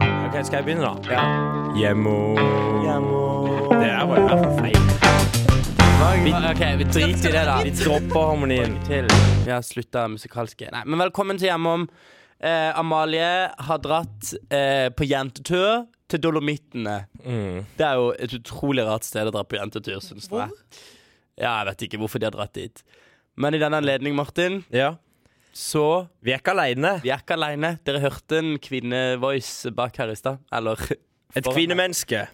Ok, Skal jeg begynne, da? Ja. Hjemmo Det der var jo i hvert fall feil. Vi, ok, vi driter i det, da. Vi dropper harmonien. til. Vi har slutta musikalske. Nei, men velkommen til Hjemom. Eh, Amalie har dratt eh, på jentetur til Dolomittene. Det er jo et utrolig rart sted å dra på jentetur, syns jeg. Ja, jeg vet ikke hvorfor de har dratt dit. Men i den anledning, Martin, Ja. så Vi er ikke aleine. Vi er ikke aleine. Dere hørte en kvinnevoice bak her i stad. Eller Et kvinnemenneske.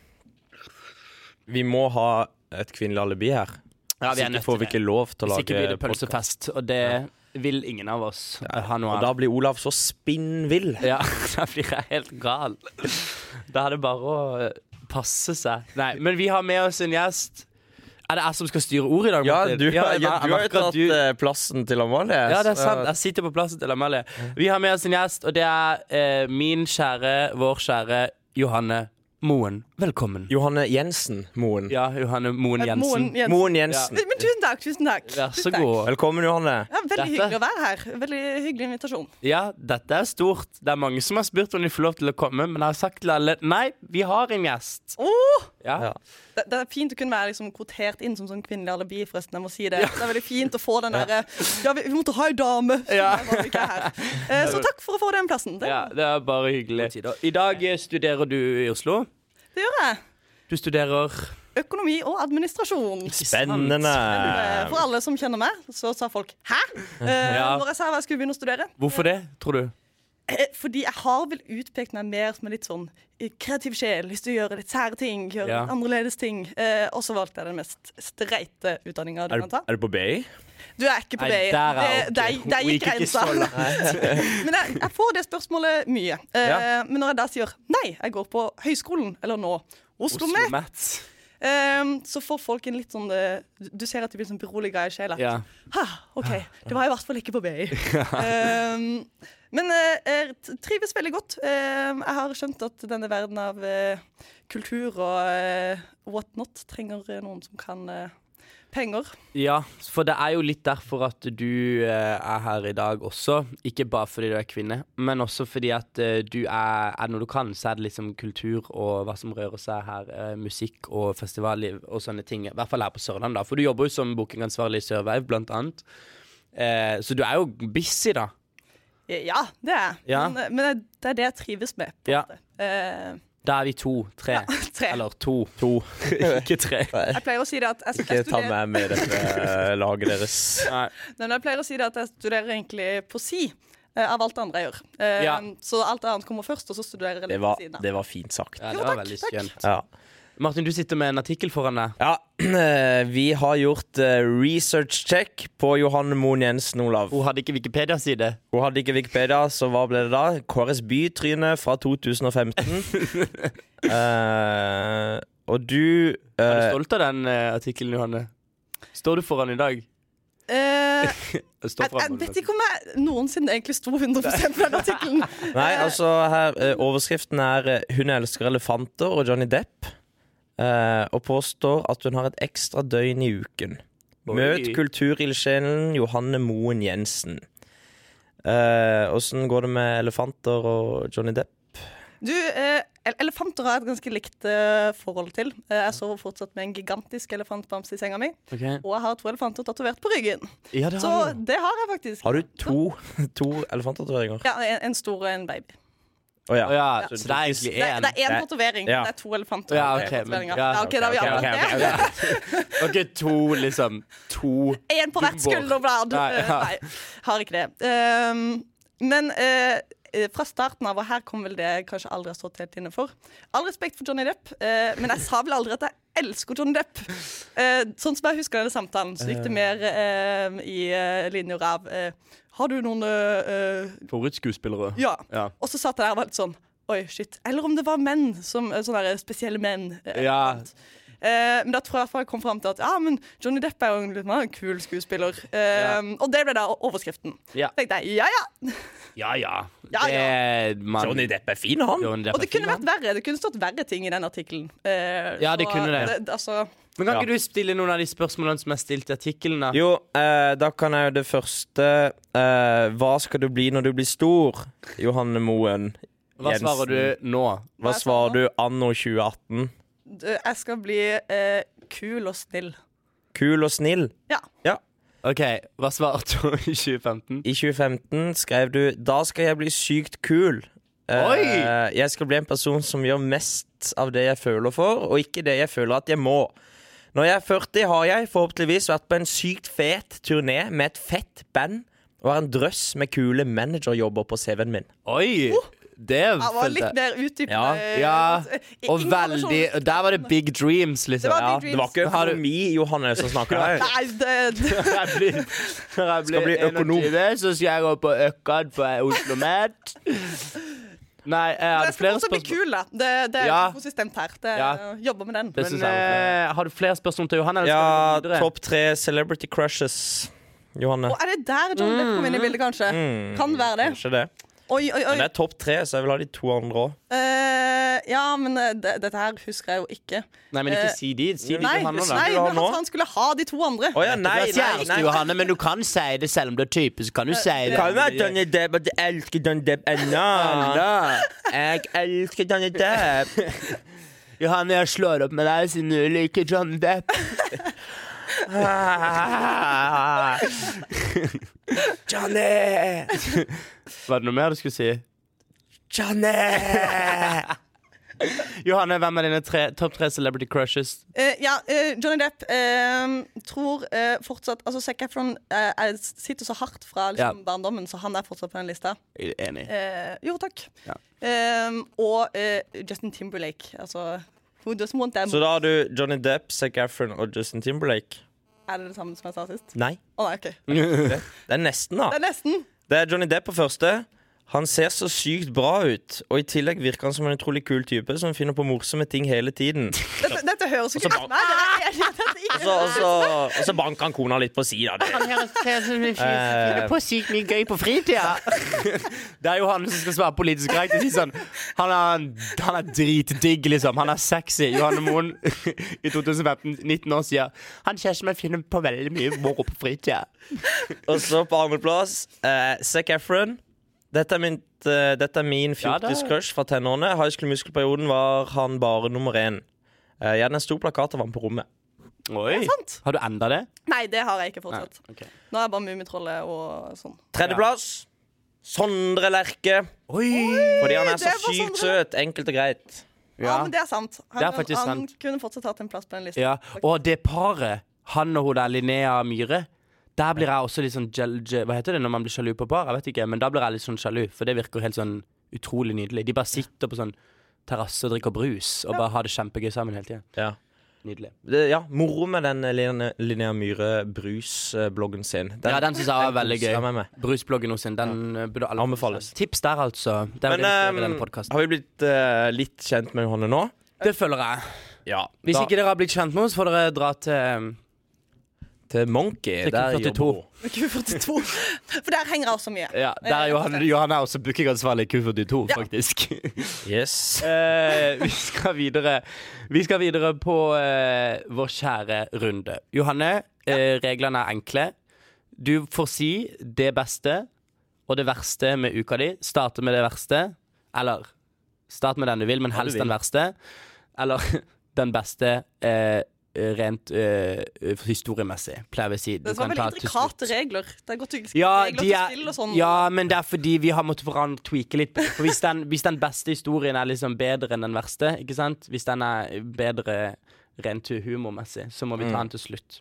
Vi må ha et kvinnelig alibi her. Ja, vi er Sikkert nødt får til vi ikke det. lov til å Hvis ikke blir lage det pønsefest, og det vil ingen av oss eh, ha noe Og av. da blir Olav så spinnvill. Ja, da blir jeg helt gal. Da er det bare å eh, passe seg. Nei, men vi har med oss en gjest. Er det jeg som skal styre ordet i dag, Ja, Martin? du, har- jeg ja, du mer- jeg har jo merker at tatt eh, plassen til Amalie. Ja, det er så- sant. Jeg sitter på plassen til Amalie. Vi har med oss en gjest, og det er eh, min kjære, vår kjære Johanne Moen. Velkommen. Johanne Jensen Moen. Ja, Johanne Moen Jensen. Moen Jensen. Moen Jensen. Men tusen takk, tusen takk. Vær så Tusen takk. god. Velkommen, Johanne. Ja, veldig Dette- hyggelig å være her. Veldig hyggelig invitasjon. Ja, dette er stort. Det er mange som har spurt om de får lov til å komme, men jeg har sagt til alle nei, vi har en gjest. Åh! Ja. Ja. Det, det er fint å kunne være liksom, kvotert inn som sånn kvinnelig alibi, forresten. Jeg må si det. Det er veldig fint å få den derre Ja, vi, vi måtte ha ei dame! som Ja. er bare ikke er her. Eh, så takk for å få den plassen. Det, Ja, det er bare hyggelig. I dag eh, studerer du i Oslo. det gjør jeg. Du studerer Økonomi og administrasjon. Spennende. Eh, For alle som kjenner meg, så sa folk 'hæ?' Eh, Ja. Når jeg sa hva jeg skulle begynne å studere. Hvorfor det, tror du? Eh, Fordi jeg har vel utpekt meg mer som en litt sånn eh, kreativ sjel. Lyst til å gjøre litt sære ting, gjøre Ja. litt annerledes ting. Eh, og så valgte jeg den mest streite utdanninga du Er, kan ta. er du på BI? Du er ikke på vei. der Det, er der, hun der gikk ikke så grensa. langt. Men jeg, jeg får det spørsmålet mye. Eh, Ja. Men når jeg da sier nei, jeg går på høyskolen, eller nå Oslo Oslo Met, Met. eh, så får folk en litt sånn eh, Du ser at de blir sånn beroliga i sjela. Ja. Ha, OK. Det var i hvert fall ikke på BI. um, men eh, jeg t- trives veldig godt. Um, jeg har skjønt at denne verden av eh, kultur og eh, what not trenger eh, noen som kan eh, penger. ja, for det er jo litt derfor at du eh, er her i dag også. Ikke bare fordi du er kvinne, men også fordi at eh, du er, er noe du kan. Så er det liksom kultur og hva som rører seg her. eh, musikk og festivalliv og sånne ting. I hvert fall her på Sørlandet, da. For du jobber jo som bookingansvarlig i Sørveiv, blant annet. Eh, så du er jo busy, da. Ja, det er jeg. Ja. Men, eh, men det- det er det jeg trives med. Ja. Eh, Da er vi to. Tre. tre. Eller to. to. ikke tre. Jeg pleier å si det at jeg, Ikke jeg, ta studerer, meg med i dette eh, laget deres. Nei. Nei, men jeg pleier å si det at jeg studerer egentlig poesi. eh, Av alt det andre jeg gjør. Eh, Ja. Så alt det annet kommer først, og så studerer jeg Det litt var, ved siden av. det var fint sagt. Ja, det Jo, var takk, veldig takk. skjønt. Ja. Martin, du sitter med en artikkel foran deg. ja. eh, Vi har gjort eh, research check på Johanne Moen Jensen, Olav. Hun hadde ikke Wikipedia-side. Hun hadde ikke Wikipedia, så hva ble det da? KRS Bytryne fra 2015. Eh, og du Er du eh, stolt av den eh, artikkelen, Johanne? Står du foran i dag? Eh, Står Jeg, jeg vet ikke om jeg noensinne egentlig sto 100 på den artikkelen. Nei, altså her, eh, overskriften er eh, 'Hun elsker elefanter' og Johnny Depp. eh, og påstår at hun har et ekstra døgn i uken. Oi. Møt kulturildsjelen Johanne Moen Jensen. Åssen går det med elefanter og Johnny Depp? Du, eh, el- elefanter har jeg et ganske likt eh, forhold til. Eh, jeg sover fortsatt med en gigantisk elefantbamse i senga mi, og jeg har to elefanter tatovert på ryggen. Ja, det Så har du. det har jeg faktisk. Har du to, to elefanttatoveringer? Ja, en, en stor og en baby. Å Å ja, Så så det er egentlig Det, er- én. det er én tatovering, Ja. det er to elefanter. Ja, og ok, tre men- tatoveringer. ja, ja, ok, da har vi ok, ok, avklart ok, ok. det. Ok, to, liksom. To. Én på hvert Jumbo. skulderblad. Nei, Eh, ja. Nei, har ikke det. Ehm, men eh, eh, fra starten av, og her kom vel det jeg kanskje aldri har stått helt inne for All respekt for Johnny Depp, eh, men jeg sa vel aldri at jeg elsker Johnny Depp. Eh, sånn som jeg husker denne samtalen, så gikk det mer eh, i eh, linjer av eh, Har du noen eh, eh, Favorittskuespillere. Ja. Ja. Og så satt jeg der og var litt sånn Oi, shit. Eller om det var menn. Som, eh, sånne der spesielle menn. eh, Ja. Eh, men da tror jeg i hvert fall jeg kom fram til at ja, men Johnny Depp er jo en, litt- han er en kul skuespiller. Eh, Og det ble da overskriften. Ja. Tenkte jeg, ja, ja. Ja ja. Ja, Det, man, Johnny Depp er fin, han. Johnny Depp Og det er fin, kunne vært verre. Det kunne stått verre ting i den artikkelen. Eh, Ja, det så kunne det. altså, han. Men kan Ja. ikke du stille noen av de spørsmålene som er stilt i artikkelen? da? Jo, eh, da kan jeg jo det første eh, Hva skal du bli når du blir stor, Johanne Moen? Hva Jensen. svarer du nå? Hva svarer du anno 2018? Du, Jeg skal bli eh, kul og snill. Kul og snill. Ja. OK, hva svarte hun i 2015? I 2015 skrev du 'Da skal jeg bli sykt kul'. Eh, Oi! jeg skal bli en person som gjør mest av det jeg føler for, og ikke det jeg føler at jeg må. Når jeg er 40, har jeg forhåpentligvis vært på en sykt fet turné med et fett band og har en drøss med kule managerjobber på CV-en min. Oi! Det Oh! Jeg var følte litt jeg. mer Ja, utdypende. eh, Ja, eh, i- og informasjon. veldig og Der var det big dreams, liksom. Det var Ja, big det var ikke Har du- økonomi Johannes som snakka her. Nei, det, det, Når jeg blir, når jeg Skal bli blir økonom. 21, så skal jeg gå på Økkan på Oslo Met. Nei, jeg jeg hadde skal flere fortsatt bli spørsmål. kul, da. Det, det er Ja. konsistent her. Det, Ja. Jobber med den. Men, synes jeg var eh, har du flere spørsmål til Johan? Eller Ja, skal vi gå videre? topp tre celebrity crushes. Johanne. Og er det der John Depp Mm. kom inn i bildet, kanskje? Kan være det. Kanskje det. Oi, oi, oi. Men det er topp tre, så jeg vil ha de to andre òg. Eh, ja, men eh, det, dette her husker jeg jo ikke. Nei, men eh, ikke si de. Si de Nei, til nei Johanne, da. Skal du ha men nå? at han skulle ha de to andre. Å ja, nei, Du er nei, kjæreste, nei. Johanne, men du kan si det selv om du er type. Så kan du Eh, si det. Kan være Johnny Depp at jeg elsker Johnny Depp ennå. Jeg elsker Johnny Depp. Johanne, jeg slår opp med deg siden du liker John Depp. Johnny! Var det noe mer du skulle si? Johnny! Johanne, hvem er dine tre, topp tre celebrity crushes? Eh, ja, eh, Johnny Depp eh, tror eh, fortsatt Altså, Zac Efron eh, er- sitter så hardt fra liksom, Ja. barndommen, så han er fortsatt på den lista. Jeg er Enig. Eh, jo, takk. Ja. Eh, og eh, Justin Timberlake. Altså Who doesn't want them? Så da har du Johnny Depp, Zac Efron og Justin Timberlake? Er det det samme som jeg sa sist? Nei. Å nei, OK. Mm. Det Det er nesten, da. er nesten. Det er Johnny Depp på første. Han ser så sykt bra ut, og i tillegg virker han som en utrolig kul type som finner på morsomme ting hele tiden. Dette, dette høres jo ikke bare- Nei, det er- det er- det er Og så, og så, og så banker han kona litt på sida. Han høres tre som en fyr som Eh. finner på sykt mye gøy på fritida. Det er jo han som skal svare politisk korrekt og si sånn Han er, han er dritdigg, liksom. Han er sexy. Johanne Moen i 2015, 19 år, sier han kjæresten min finner på veldig mye moro på fritida. Og så på andreplass eh, Zac Efron. Dette er min, eh, dette er min Ja, det er- fjortis-crush fra tenårene. High School Musical-perioden var han bare nummer én. Eh, jeg hadde en stor plakat av ham på rommet. Oi. sant. Har du enda det? Nei, det har jeg ikke fortsatt. Nei, ok. Nå er jeg bare Mummitrollet og sånn. Tredjeplass Sondre Lerche. Oi! Fordi han er så det var sykt Sondre. søt. Enkelt og greit. Ja, men det er sant. Han, Det er faktisk han sant. kunne fortsatt hatt en plass på den lista. Ja, og det paret, han og hun der Linnea Myhre Der blir jeg også litt sånn gel, gel, Hva heter det når man blir sjalu på par? Jeg vet ikke, men da blir jeg litt sånn sjalu, for det virker helt sånn utrolig nydelig. De bare sitter på sånn terrasse og drikker brus og bare har det kjempegøy sammen hele tiden. Ja. Nydelig. Det, ja, moro med den eh, Linnea- Linnea Myhre-brus-bloggen sin. Den, Ja, den syns jeg var veldig koser jeg meg gøy. med. Brusbloggen hos sin, den eh, burde alle Anbefales. Tips der, altså. Det er Men det vi skriver i ehm, denne podcasten. har vi blitt eh, litt kjent med Johanne nå? Det føler jeg. Ja. Hvis da, ikke dere har blitt kjent med oss, får dere dra til ehm, til Monkey. Til Der 42. jobber hun. Q42. For der henger jeg også mye. Eh, Ja, der er Johan, Johan er også bookingansvarlig i Q42, faktisk. Yes. Eh, vi skal videre Vi skal videre på eh, vår kjære runde. Johanne, eh, reglene er enkle. Du får si det beste og det verste med uka di. Starte med det verste. Eller start med den du vil, men Ja, du helst vil. den verste. Eller den beste eh, rent eh, historiemessig, pleier vi å si. Du Det var kan veldig ta til slutt. intrikate regler. Det er godt du ikke skal Ja, regler de til er, spill og sånn. ja, men det er fordi vi har måttet forandre tweake litt. For hvis den, hvis den beste historien er liksom bedre enn den verste, ikke sant? hvis den er bedre rent humormessig, så må vi ta den til slutt.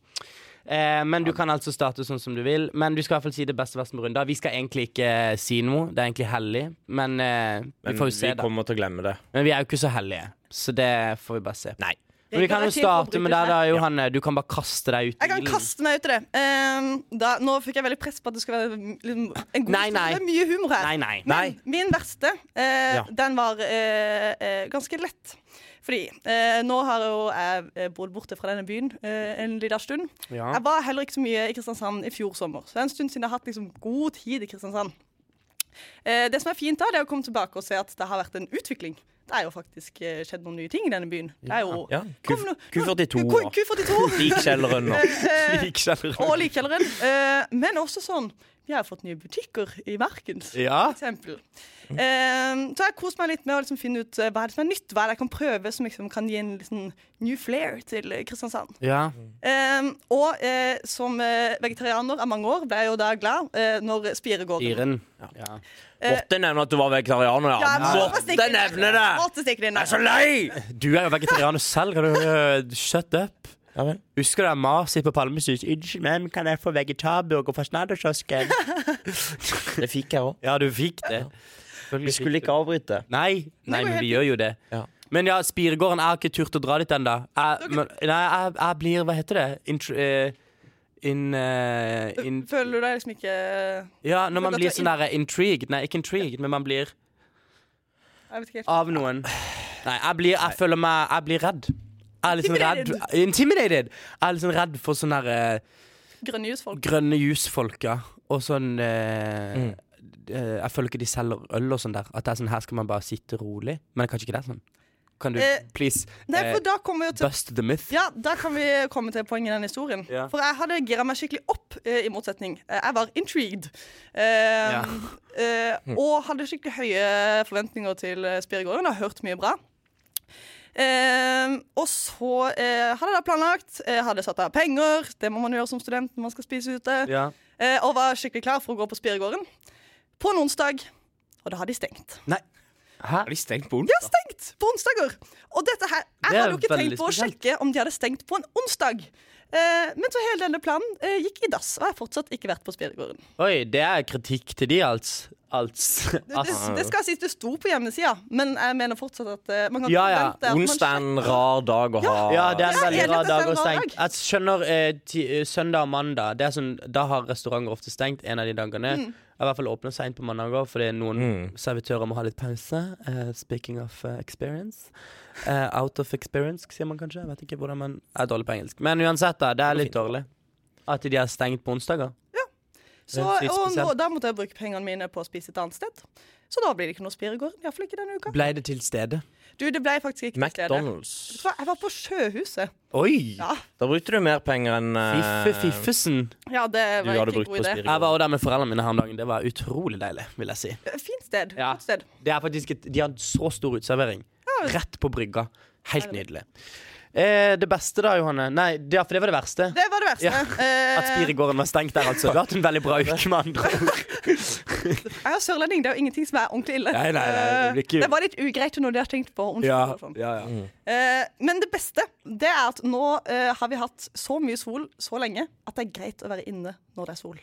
Eh, men du kan altså starte sånn som du vil. Men du skal i hvert fall si det beste verste med runder. Vi skal egentlig ikke si noe, det er egentlig hellig, men eh, vi Men får jo se, vi da. kommer til å glemme det. Men vi er jo ikke så hellige, så det får vi bare se. Nei. Men vi kan jo Regler er til for å starte med bryte deg, seg. da, Johanne. Du kan bare kaste deg ut. i Jeg kan ilden. kaste meg ut i det. Ehm, da, nå fikk jeg veldig press på at det skal være mm, liksom, en god Nei, historie nei. med mye humor her. Nei, nei. Nei. Min verste, eh, Ja. den var eh, eh, ganske lett. Fordi eh, nå har jo jeg eh, bodd borte fra denne byen eh, en liten stund. Ja. Jeg var heller ikke så mye i Kristiansand i fjor sommer, så det er en stund siden jeg har hatt liksom, god tid i Kristiansand. Eh, det som er fint da, det er å komme tilbake og se at det har vært en utvikling. Det er jo faktisk eh, skjedd noen nye ting i denne byen. Det er jo... Ja. Q, Kom nå- Q42. Q- Q42. Likkjelleren og Eh, Likkjelleren. og likkjelleren. Eh, men også sånn Vi har fått nye butikker i Markens. Ah. Ja. for eksempel. Ehm, så jeg har kost meg litt med å liksom finne ut eh, hva er det som er nytt, hva er det jeg kan prøve som liksom kan gi en liksom new flair til eh, Kristiansand. Ja. Ehm, og eh, som eh, vegetarianer av mange år ble jeg jo da glad eh, når spiret går. Iren. Ja. Måtte nevne at du var vegetarianer, ja. Ja, jeg må bare stikke Måtte inn nevne det! Måtte stikke det inn Jeg der. er så lei! Du er jo vegetarianer selv. Kan du eh, shut up? Ja vel. Husker du jeg maset på Palmesus? Unnskyld, men kan jeg få vegetarburger fra Snadderkiosken? Det fikk jeg òg. Ja, du fikk det. Vi skulle ikke avbryte. Nei, nei men vi gjør jo det. Ja. Men ja, Spiregården, jeg har ikke turt å dra dit ennå. Jeg, men- nei, jeg, jeg blir Hva heter det? Intro... eh, in, eh, in, Føler du deg liksom ikke Jeg ja, når man føler blir at du sånn der intrigued. Nei, ikke intrigued, men man blir vet ikke helt. Ah. av noen. Ah. Nei, jeg blir Jeg føler meg Jeg blir redd. Jeg er litt sånn redd Intimidated! Jeg er litt sånn redd for sånne der, eh, Grønne jusfolk. grønne jusfolka og sånn eh, eh, Jeg føler ikke de selger øl og sånn der. At det er sånn her skal man bare sitte rolig. Men kanskje ikke det er sånn. Kan du Eh, please Nei, eh, for da kommer vi jo til bust the myth? Ja, da kan vi komme til poenget i den historien. Ja. For jeg hadde gira meg skikkelig opp, eh, i motsetning. Eh, jeg var intrigued. Eh, Ja. eh, og hadde skikkelig høye forventninger til eh, Spiregården. Har hørt mye bra. Eh, og så eh, hadde jeg da planlagt, eh, hadde satt av penger, det må man gjøre som student når man skal spise ute, Ja. eh, og var skikkelig klar for å gå på Spiregården på en onsdag. Og da har de stengt. Nei. Hæ? Har de stengt på onsdag? Stengt på onsdager! Og dette her, Det jeg er hadde jo ikke veldig tenkt på å spesielt. sjekke om de hadde stengt på en onsdag. Eh, men så hele denne planen eh, gikk i dass, og jeg har fortsatt ikke vært på Spiregården. Oi, det er kritikk til de, altså. Altså. Det, det, det skal sies det sto på hjemmesida, men jeg mener fortsatt at eh, man kan Ja, ja. forvente at man Onsdag er sjekker. en rar dag å ha Ja, det er en Ja, veldig jeg er rar litt dag å rar dag. stenge. Jeg skjønner eh, ti, eh, søndag og mandag det er sånn, Da har restauranter ofte stengt en av de dagene. Mm. I hvert fall åpner seint på mandager fordi noen servitører må ha litt pause. Eh, speaking of eh, experience. Eh, out of experience, sier man kanskje. Jeg vet ikke hvordan man jeg er dårlig på engelsk. Men uansett, da, det er litt dårlig. At de har stengt på onsdager. Så, litt og nå, spesielt. da måtte jeg bruke pengene mine på å spise et annet sted. Så da blir det ikke noe Spiregården. Iallfall ikke denne uka. Ble det til stede? Du, det ble faktisk ikke til stede. McDonald's. Vet du hva, Jeg var på Sjøhuset. Oi! Ja, Da brukte du mer penger enn eh, Fiffe fiffesen. ja det du var hadde ikke en brukt på god idé. Jeg Spiregården. var også der med foreldrene mine her om dagen. Det var utrolig deilig, vil jeg si. Fint sted. Ja. Godt sted. Det er faktisk et, De har en så stor uteservering. Rett på brygga. Helt nydelig. Eh, det beste da, Johanne Nei, det, for det var det verste. Det var det verste. Eh, At Spiregården var stengt der, altså. Du har hatt en veldig bra uke, med andre ord. Jeg er sørlending, det er jo ingenting som er ordentlig ille. Nei, nei, nei, det blir ikke- Eh, det var litt ugreit når de har tenkt på onsdag. og sånn. Mm. Eh, Men det beste det er at nå eh, har vi hatt så mye sol så lenge at det er greit å være inne når det er sol.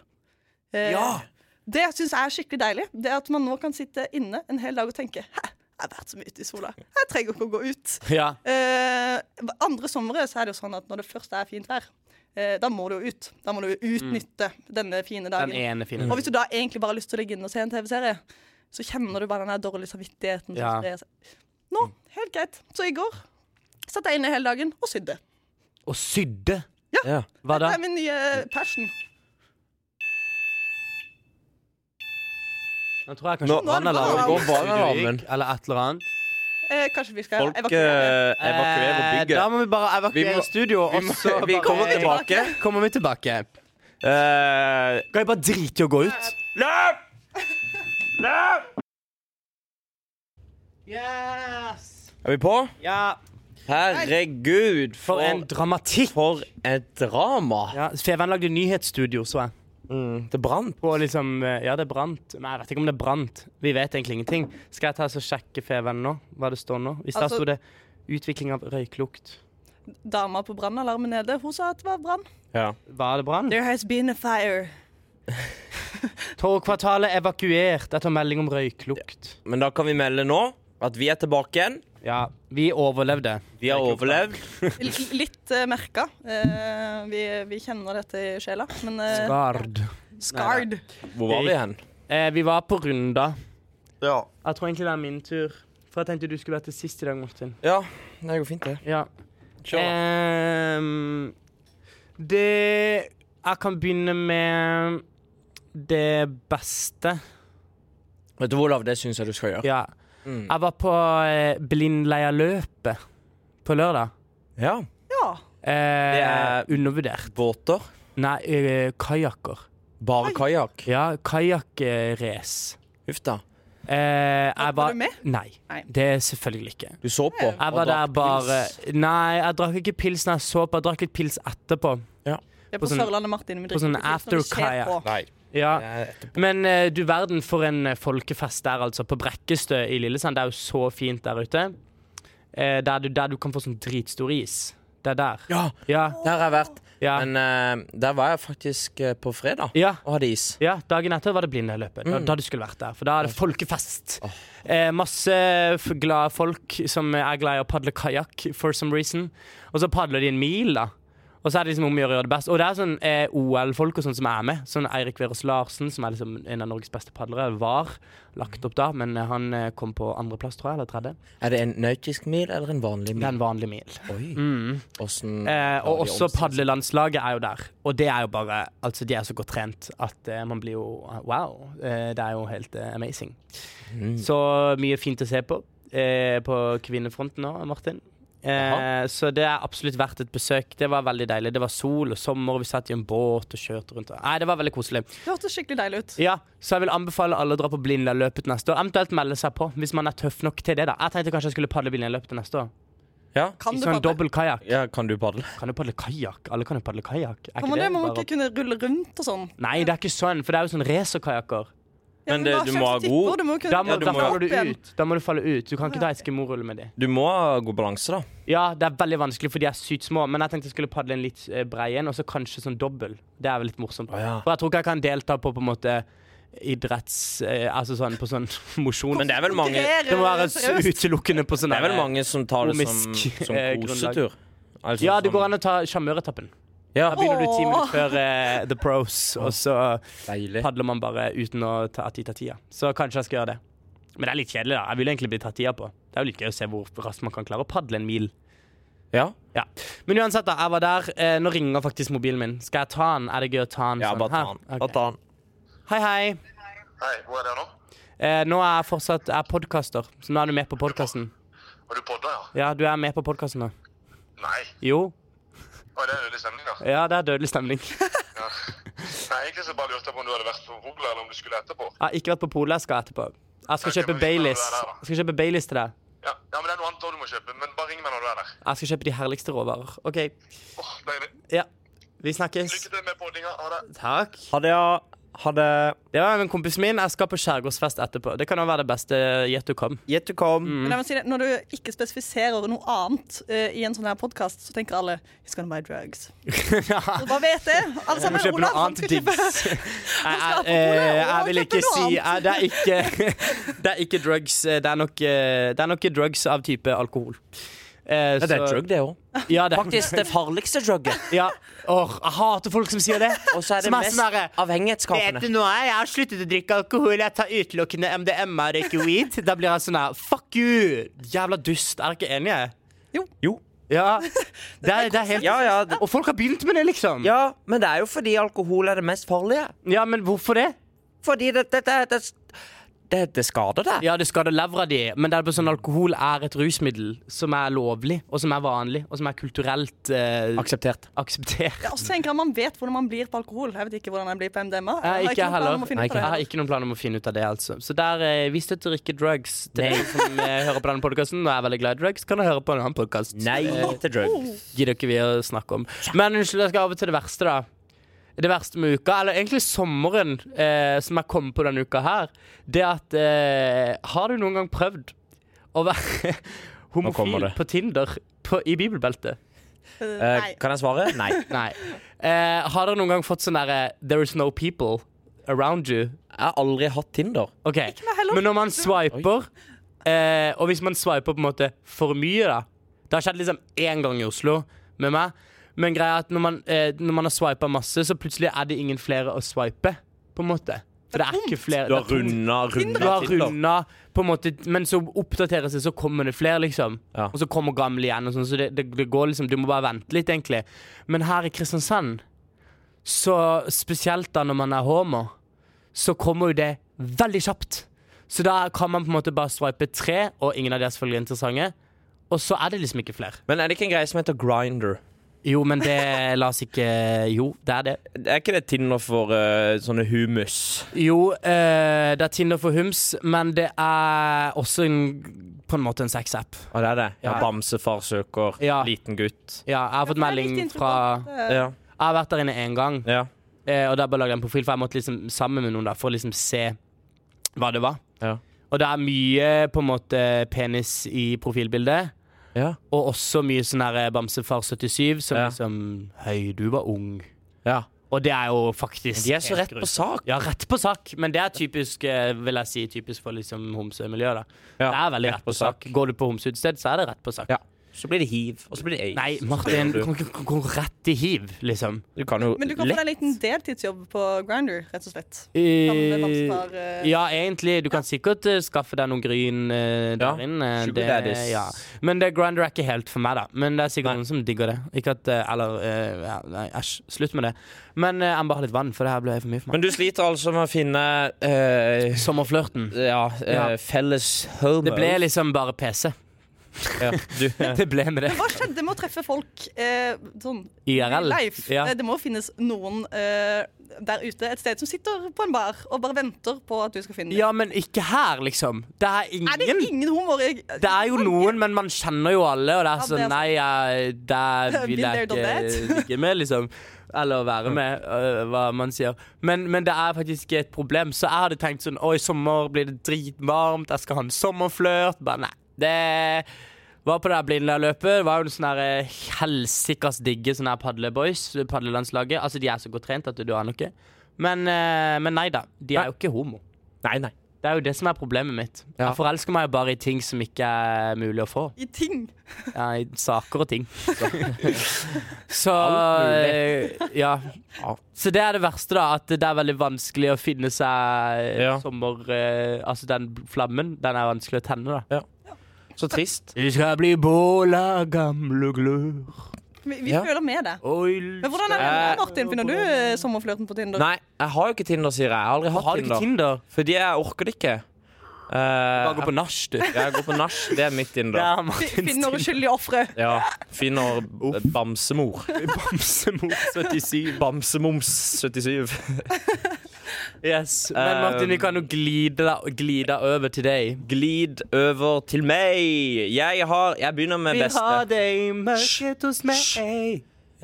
Eh, Ja. Det syns jeg er skikkelig deilig. Det at man nå kan sitte inne en hel dag og tenke Hæ, jeg har vært så mye ute i sola. Jeg trenger ikke å gå ut. Ja. Eh, andre somre så er det jo sånn at når det først er fint vær, eh, da må du jo ut. Da må du jo utnytte denne fine dagen. Den ene Mm. fine. Og hvis du da egentlig bare har lyst til å ligge inne og se en TV-serie, så kjenner du bare den der dårlige samvittigheten. Ja. Mm. som sprer seg. Nå, helt greit. Så i går satt jeg inne hele dagen og sydde. Og sydde. Ja. Hva da? Det er min nye passion. Nå tror jeg Nå- Nå kanskje går brannalarmen. Studiogikk, Eller et eller annet. Eh, kanskje vi skal Folk evakuere. eh, evakuerer Eh, bygget. Da må vi bare evakuere Vi må- studio, vi og må- så vi bare- kommer tilbake. Kommer vi tilbake. Eh, Kan jeg bare drite i å gå ut? løp! Løp! Yes! Er vi på? Ja. Herregud, For en dramatikk. For et drama. Ja, Feven lagde nyhetsstudio, så jeg. Mm, det brant. På liksom, eh, ja, det brant. Nei, jeg vet ikke om det brant. Vi vet egentlig ingenting. Skal jeg ta og så sjekke Feven nå? Hva det står nå? Hvis der Altså- sto det 'utvikling av røyklukt'. Dama på brannalarmen nede, hun sa at det var brann. Ja. Var det brann? There has been a fire. Torgkvartalet evakuert etter melding om røyklukt. Men da kan vi melde nå at vi er tilbake igjen. Ja, vi overlevde. Vi har overlevd. L- Litt uh, merka. Eh, vi, vi kjenner dette i sjela, men eh, Gard. scarred. Hvor var vi hen? Eh, vi var på Runda. Ja. Jeg tror egentlig det er min tur. For jeg tenkte du skulle vært til sist i dag, Martin. ja. Det går fint, det. Ja. Kjør. Ehm, det Jeg kan begynne med det beste. Eh, Vet du, Olav, det syns jeg du skal gjøre. Ja. Mm. Jeg var på eh, Blindleia-løpet på lørdag. Ja. Ja. Eh, Det er- Undervurdert. Båter. Nei, eh, kajakker. Bare kajakk? Ja, kajakkrace. Huff da. Eh, jeg Var du med? Nei, Nei. det er selvfølgelig ikke. Du så på? Jeg og var der drakk bare pils. Nei, jeg drakk ikke pils når jeg så på. Jeg drakk litt pils etterpå. Det er På på, sånn- Sørlandet, Martin. Vi på sånn drikker ikke ut når det after-kajakk. skjer på. Nei. Ja. det er etterpå. Men eh, du verden for en eh, folkefest der, altså. På Brekkestø i Lillesand. Det er jo så fint der ute. Eh, der, du, der du kan få sånn dritstor is. Det er der. Ja, Ja. der har jeg vært. Ja. Men eh, der var jeg faktisk eh, på fredag ja. og hadde is. Ja, Dagen etter var det Blindeløpet. Da, da du skulle vært der. For da er det folkefest. Eh, masse f- glade folk som er glad i å padle kajakk for some reason. Og så padler de en mil, da. Og så er det liksom om å gjøre å gjøre det best. Og det er sånn eh, OL-folk og sånn som er med. Sånn Eirik Verås Larsen, som er liksom en av Norges beste padlere, var lagt opp da, men eh, han eh, kom på andreplass, tror jeg, eller tredje. Er det en nautisk mil eller en vanlig Det er mil? en vanlig mil. Oi. Åssen Mm. har Eh, og de også omstilt seg? padlelandslaget er jo der. Og det er jo bare Altså, de er så godt trent at eh, man blir jo Wow. Eh, det er jo helt eh, amazing. Mm. Så mye fint å se på eh, på kvinnefronten nå, Martin. Eh, Jaha. så det er absolutt verdt et besøk. Det var veldig deilig. Det var sol og sommer, og vi satt i en båt og kjørte rundt. og- Nei, det var veldig koselig. Det hørtes skikkelig deilig ut. Ja, Så jeg vil anbefale alle å dra på Blindaløpet neste år. Eventuelt melde seg på, hvis man er tøff nok til det. da Jeg tenkte kanskje jeg skulle padle Blindaløpet til neste år. ja. Kan I du sånn padle? dobbel kajakk. ja, kan du padle? Kan du padle kajakk? Alle kan jo padle kajakk. Er Ja, men det må man bare- ikke kunne rulle rundt og sånn. Nei, det er ikke sånn, for det er jo sånn racerkajakker. Ja, Men det- bare du kjøp må ha tipper, god- Du må kunne Da, må- Ja, du da må- faller du opp igjen. ut. Da må du falle ut. Du kan ikke ta eskimorulle med de. Du må ha god balanse, da. Ja, det er veldig vanskelig, for de er sykt små. Men jeg tenkte jeg skulle padle en litt eh, brei en, og så kanskje sånn dobbel. Det er vel litt morsomt. Å, ja. For jeg tror ikke jeg kan delta på på en måte idretts... Eh, altså sånn på sånn mosjon. Men det er vel mange, det Konkurrere Det må være s- seriøst. utelukkende på sånn er vel der- mange som tar det som, komisk, som eh, grunnlag. kosetur. Altså, Ja, det sånn- går an å ta sjarmøretappen. Ja, Da begynner du ti Åh. minutter før eh, The Pros, og så deilig. padler man bare uten å ta, at de tar tida. Så kanskje jeg skal gjøre det. Men det er litt kjedelig, da. Jeg vil egentlig bli tatt tida på. Det er jo litt gøy å se hvor raskt man kan klare å padle en mil. Ja, Ja. Men uansett, da. Jeg var der. Eh, nå ringer faktisk mobilen min. Skal jeg ta den? Er det gøy å ta den? ja sånn bare ta her? den. Ok. Bare ta den. Hei, hei. Hei, hvor er det nå? Eh, nå er jeg fortsatt jeg er podkaster, så nå er du med på podkasten. Har du podda, ja? Ja, du er med på podkasten nå. Nei. Jo. Å, det er dødelig stemning, Eh. da. Ja, det er dødelig stemning. Jeg Ja. Nei, egentlig så bare lurte jeg på om du hadde vært på Hola, eller om du skulle etterpå. har ikke vært på polet jeg skal etterpå. Jeg skal Ok, kjøpe men vi kan Baileys. være der, da. Jeg skal kjøpe Baileys til deg. Ja, ja men det er noe annet også du må kjøpe, men bare ring meg når du er der. Jeg skal kjøpe de herligste råvarer. OK. Åh, deilig. Ja. Vi snakkes. Lykke til med poddinga. Ha det. Takk. Ha det, ja. Ha det. Det var en kompis min. Jeg skal på skjærgårdsfest etterpå. Det kan jo være det beste gjett du kom. Gjett du kom. Mm. Men jeg må si det, Når du ikke spesifiserer noe annet eh, i en sånn her podkast, så tenker alle He's gonna buy drugs. Så bare vet det. Alle Jeg må sammen, kjøpe Olav, noe han annet skal diggs. kjøpe Jeg, jeg, skal på eh, polet, og jeg vil kjøpe ikke noe si eh, det, er ikke, det er ikke drugs. eh, Det er nok, eh, det er nok drugs av type alkohol. Eh, Ja, det er så- drug, det òg. Ja, det er- Faktisk det farligste drugget. Ja. Åh, jeg hater folk som sier det. Og så er det Som er mest sånn derre, Vet du avhengighetsskapende. noe? Jeg har sluttet å drikke alkohol. Jeg tar utelukkende MDMA og røyker weed. Da blir jeg sånn her Fuck you! Jævla dust. Er dere ikke enige? Jo. Ja. Det er, det er helt Ja, ja, det, Og folk har begynt med det, liksom. ja, men det er jo fordi alkohol er det mest farlige. Ja, men hvorfor det? Fordi det Det, det, det, det, det skader deg. Ja, det skader levra di, men det er bare sånn alkohol er et rusmiddel som er lovlig, og som er vanlig, og som er kulturelt eh, Akseptert. akseptert. Ja, og så tenker jeg Man vet hvordan man blir på alkohol. Jeg vet ikke hvordan jeg blir på MDMA. Jeg har har ikke jeg noen heller. plan om å finne ut av Jeg det. har ikke noen plan om å finne ut av det, altså. Så der, eh, vi støtter ikke drugs til dere som eh, hører på denne podkasten. Og er veldig glad i drugs, kan dere høre på en annen podkast. Nei til drugs. Oh, Gidder ikke vi å snakke om. Men unnskyld, jeg skal over til det verste, da. Det verste med uka, eller egentlig sommeren eh, som jeg kom på denne uka her, det at eh, Har du noen gang prøvd å være kommer homofil det. på Tinder på, i bibelbeltet? Eh, Eh, Nei. kan jeg svare? Nei. Nei. Eh, har dere noen gang fått sånn derre There is no people around you? Jeg har aldri hatt Tinder. Ok, heller. Men når man swiper, eh, og hvis man swiper på en måte for mye, da Det har skjedd liksom én gang i Oslo med meg, men greia er at når man, eh, når man har swipa masse, så plutselig er det ingen flere å swipe, på en måte. For det er ikke flere Du har det er tomt. runda, Du runda har Tinder. runda, på en måte, men så oppdateres det, så kommer det flere, liksom. Ja. Og så kommer gamle igjen, og sånn, så det, det, det går liksom Du må bare vente litt, egentlig. Men her i Kristiansand, så spesielt da når man er homo, så kommer jo det veldig kjapt. Så da kan man på en måte bare swipe tre, og ingen av de er selvfølgelig interessante. Og så er det liksom ikke flere. Men er det ikke en greie som heter Grinder? Jo, men det La oss ikke Jo, det er det. Er ikke det Tinder for eh, sånne humus? Jo, eh, det er Tinder for hums, men det er også en, på en måte en sexapp. Å, det er det? Ja, Ja. Bamsefar søker Ja. liten gutt. Ja, jeg har fått melding fra eh, Ja. Jeg har vært der inne én gang, ja. eh, og da bare lagde jeg en profil, for jeg måtte liksom sammen med noen da, for å liksom se hva det var. Ja. Og det er mye på en måte penis i profilbildet. Ja. Og også mye sånn her Bamsefar 77, som Ja. liksom Hei, du var ung. ja. Og det er jo faktisk De er så helt rett på sak. Ja, rett på sak, men det er typisk eh, vil jeg si, typisk for liksom homsemiljøet. da. Ja, det er veldig rett, på sak. Går du på homseutsted, så er det rett på sak. Ja. Så blir det hiv, og så blir det aids. Nei, Martin, Du, du kan ikke gå rett i hiv, liksom. du kan jo Men du kan få deg en liten deltidsjobb på Grinder, rett og slett. Gamle Bamsefar, eh, ja, egentlig. Du kan sikkert eh, skaffe deg noen gryn Ja, eh, der inne. sugar Det, daddies. ja. Men det Grinder er ikke helt for meg, da. Men det er sikkert Nei. noen som digger det. Ikke at, eh, eller eh, ja, Nei, æsj. Slutt med det. Men eh, jeg må bare ha litt vann, for det her ble for mye for meg. Men du sliter altså med å finne eh, Sommerflørten. ja, eh, Ja. felles homo. Det ble liksom bare PC. ja, du, Det ble med det. Hva skjedde med å treffe folk eh, sånn IRL. live? Ja. Eh, Det må jo finnes noen eh, der ute et sted som sitter på en bar og bare venter på at du skal finne dem. ja, men ikke her, liksom. Det er Er det ingen. ingen homoer i Det er jo noen, men man kjenner jo alle, og det er Ja, sånn det er Nei, jeg, det vil jeg Been there, done ikke ligge med, liksom. Eller være med, øh, hva man sier. Men, men det er faktisk et problem. Så jeg hadde tenkt sånn Å, i sommer blir det dritvarmt, jeg skal ha en sommerflørt. Bare nei. Det var på det her Blindern-løpet. Det var jo en sånn her eh, helsikas digge sånn her padleboys, padlelandslaget. Altså, de er så godt trent at du aner ikke. Men, eh, men nei da. De er jo ikke homo. nei, nei. Det er jo det som er problemet mitt. Ja. Jeg forelsker meg jo bare i ting som ikke er mulig å få. I ting. Ja, I saker og ting. Så Alt eh, ja. Så det er det verste, da. At det er veldig vanskelig å finne seg Ja. sommer... eh, altså den flammen, den er vanskelig å tenne, da. Så trist. Du skal bli bål av gamle glør Vi, vi Ja. føler med det. Men hvordan er det med deg, Martin? Finner du eh, sommerflørten på Tinder? Nei, jeg har jo ikke Tinder, sier jeg. Jeg har aldri hatt Har du ikke Tinder. Tinder? Fordi jeg orker det ikke. Eh, Bare gå på nach, du. jeg, jeg går på nach. Det er mitt Tinder. Det Ja. er Martins Finner uskyldige ofre. Finner eh, bamsemor. bamsemor 77. Bamsemoms77. Yes. Men Martin, vi kan jo glide, deg- glide over til deg. Glid over til meg. Jeg har Jeg begynner med Vil beste. ha deg i mørket hos meg.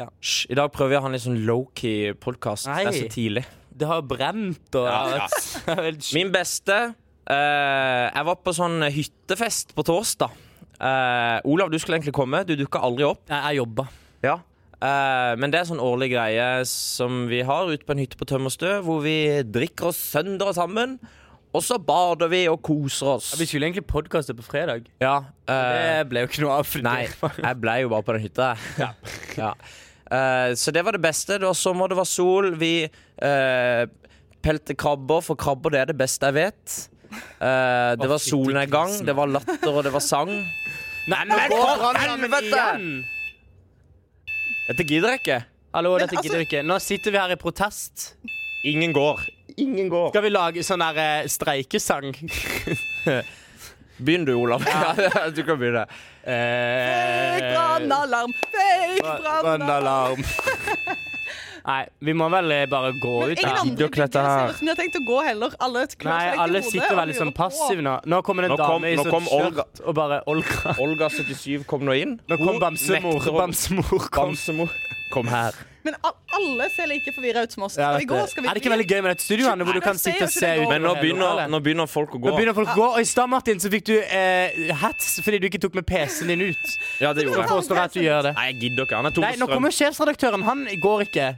Hysj. I dag prøver jeg å ha en litt sånn low-key podkast. Det er Nei. så tidlig. Det har brent og Ja, ja. Det er helt sjukt. Min beste eh, Jeg var på sånn hyttefest på torsdag. Eh, Olav, du skulle egentlig komme. Du dukka aldri opp. Nei, Jeg jobba. Ja. Eh, men det er sånn årlig greie som vi har ute på en hytte på Tømmerstø, hvor vi drikker oss sønder sammen, og så bader vi og koser oss. Vi skulle egentlig podkaste på fredag. Ja, eh, Det ble jo ikke noe av. fordi- Nei, jeg ble jo bare på den hytta. jeg. Ja. Eh, så det var det beste. Det var sommer, det var sol. Vi eh, pelte krabber, for krabber det er det beste jeg vet. Eh, det Å, var fytti solnedgang, grisen. det var latter, og det var sang. Nei men Men for for helvete! igjen! Dette gidder jeg ikke. Hallo, dette Men gidder vi altså- ikke. Nå sitter vi her i protest. Ingen går. Ingen går. Skal vi lage sånn der eh, streikesang? Begynn du, Olav. Ja. du kan begynne. Eh, Eh, Fake brannalarm! Fake brannalarm! Brannalarm. Nei, vi må vel eh, bare gå Men ut ingen her. andre Gidder dere digger dette det ser her? ut som de har tenkt å gå heller. Alle klør Nei, seg i alle hodet sitter og veldig sånn lurer på. passive nå. Nå kommer det en Nå kom- dame i nå sånn kom Olga. skjørt og bare Olga. Olga77 kom nå inn. Nå kom Hun bamsemor. nekter å- Bamsemor kom. Bamsemor. Kom her. Men al- alle ser like forvirra ut som oss. Ja, Skal dette- vi gå? Skal vi er det ikke veldig gøy med dette studioet, Anne, hvor du Nei, kan det sitte og ser jo se ut ikke det Men nå over hele begynner, lokalet? nå begynner folk å gå. Nå begynner folk å gå. Og i stad, Martin, så fikk du eh, hats fordi du ikke tok med PC-en din ut. Ja, det gjorde Så jeg. forstår jeg at du gjør det. Nei, jeg gidder ikke. Han er tom Nei, for nå strøm. kommer sjefsredaktøren. Han går ikke.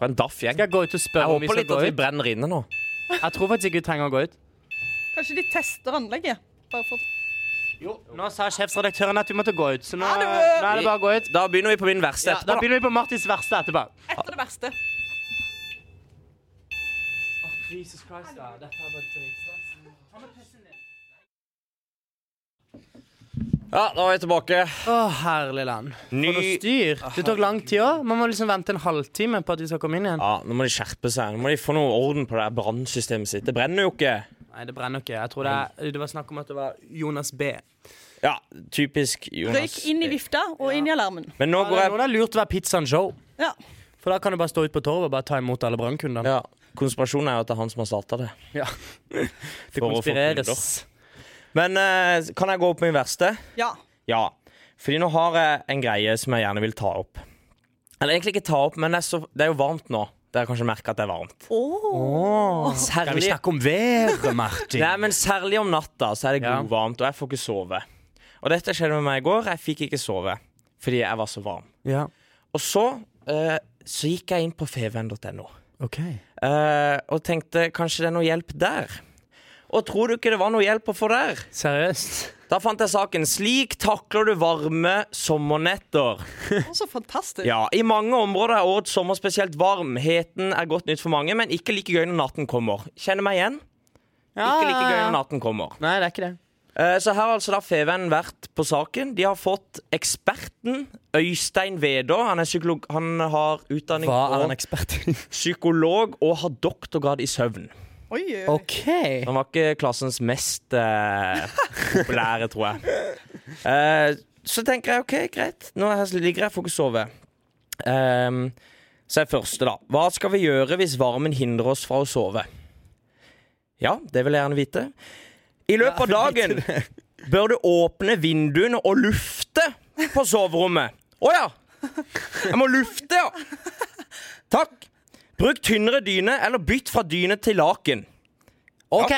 Fra en daff-gjeng. Skal jeg gå ut Jeg og spørre om vi håper skal litt gå at vi ut? brenner inne nå. Jeg tror faktisk ikke vi trenger å gå ut. Kanskje de tester anlegget? Bare for... Nå sa sjefsredaktøren at vi måtte gå ut, så nå, Ha det! nå er det bare å gå ut. Da begynner vi på min verste Ja, da etterpå. begynner vi på Martins verste etterpå. Etter det verste. Jesus Christ, da. Dette er bare Da. Ja, da er vi tilbake. Å, herlig land. Ny For noe styr. Det tok lang tid òg. Man må liksom vente en halvtime på at vi skal komme inn igjen. Ja, Nå må de skjerpe seg. Nå må de få noe orden på det der brannsystemet sitt. Det brenner jo ikke. Nei, det brenner ikke. Jeg tror det, er, det var snakk om at det var Jonas B. Ja, typisk Jonas. Røyk inn i vifta og inn i alarmen. Men nå Ja, går det er jeg noe det er lurt å være pizzaen show. Ja. For da kan du bare stå ute på torvet og bare ta imot alle brannkundene. ja, Konspirasjonen er jo at det er han som har starta det. Ja. Det For å få konspireres. Men eh, kan jeg gå opp min verste? ja. Ja. Fordi nå har jeg en greie som jeg gjerne vil ta opp. Eller egentlig ikke ta opp, men det er, så, det er jo varmt nå. Dere har kanskje merka at det er varmt. Åh. Kan vi Særlig, snakke om været, Martin? nei, men særlig om natta så er det Ja. godvarmt, og jeg får ikke sove. Og dette skjedde med meg i går. Jeg fikk ikke sove fordi jeg var så varm. Ja, Og så, eh, så gikk jeg inn på feven.no ok eh, og tenkte kanskje det er noe hjelp der. Og tror du ikke det var noe hjelp å få der? Seriøst? Da fant jeg saken 'Slik takler du varme sommernetter'. Så fantastisk. Ja, I mange områder er årets sommer spesielt varm. Heten er godt nytt for mange, men ikke like gøy når natten kommer. Kjenner meg igjen? Ikke like gøy når natten kommer. Nei, det er ikke det. Eh, Så her har altså da Feven vært på saken. De har fått eksperten Øystein Vedå. Han, er psykolog- han har utdanning Hva er han på ekspert i? psykolog og har doktorgrad i søvn. Oi, oi, oi. OK. Han var ikke klassens mest eh, populære, tror jeg. Eh, så tenker jeg OK, greit. Nå er jeg- ligger jeg, får ikke sove. Ehm, så er første, da. Hva skal vi gjøre hvis varmen hindrer oss fra å sove? Ja, det vil jeg gjerne vite. I løpet av dagen bør du åpne vinduene og lufte på soverommet. Å ja! Jeg må lufte, ja. Takk. Bruk tynnere dyne, eller bytt fra dyne til laken. Ok.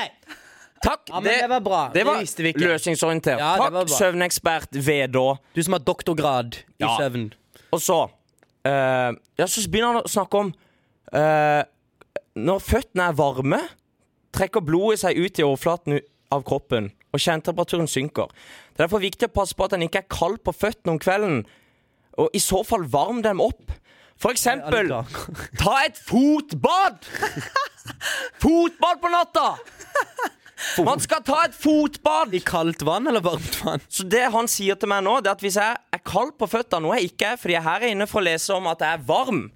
Takk. Ja, men det var bra. Det Det var visste vi ikke. løsningsorientert. Ja, det var Takk, bra. søvnekspert Vedå. Du som har doktorgrad i Ja. søvn. Og så eh, Ja, så begynner han å snakke om eh, Når føttene er varme, trekker blodet seg ut i overflaten u- av kroppen, og kjernetemperaturen synker. Det er derfor viktig å passe på at den ikke er kald på føttene om kvelden, og i så fall varm dem opp. For eksempel Ja, Ta et fotbad! Fotbad på natta! Man skal ta et fotbad! I kaldt vann eller varmt vann? Så det han sier til meg nå, det er at hvis jeg er kald på føttene, noe jeg ikke er, fordi jeg her er inne for å lese om at jeg er varm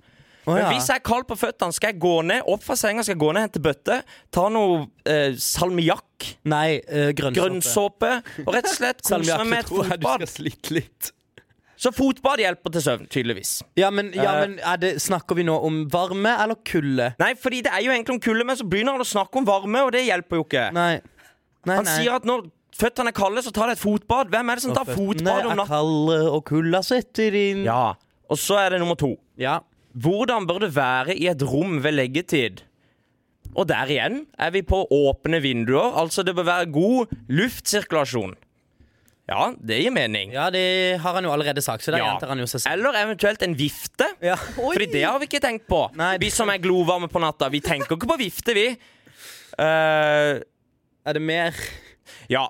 Å, Men hvis jeg er kald på føttene, skal jeg gå ned, opp fra senga, skal jeg gå ned, hente bøtte, ta noe eh, salmiakk, Nei, eh, grønnsåpe. grønnsåpe, og rett og slett kose meg med et tror jeg du fotbad. skal slite litt. Så fotbad hjelper til søvn, tydeligvis. Ja, men, ja, Eh. men er det, snakker vi nå om varme eller kulde? Nei, fordi det er jo egentlig om kulde, men så begynner han å snakke om varme, og det hjelper jo ikke. Nei. Nei, Han nei. sier at når føttene er kalde, så tar de et fotbad. Hvem er det som tar fotbad om er natta? kalde, og kulda sitter inn. Ja. Og så er det nummer to. Ja. Hvordan bør det være i et rom ved leggetid? Og der igjen er vi på åpne vinduer, altså det bør være god luftsirkulasjon. Ja, det gir mening. Ja, det har han jo allerede sagt, så der Ja. gjentar han jo seg selv. Eller eventuelt en vifte. Ja. Fordi det har vi ikke tenkt på. Nei, Vi det- som er glovarme på natta, vi tenker ikke på vifte, vi. Eh, Er det mer Ja.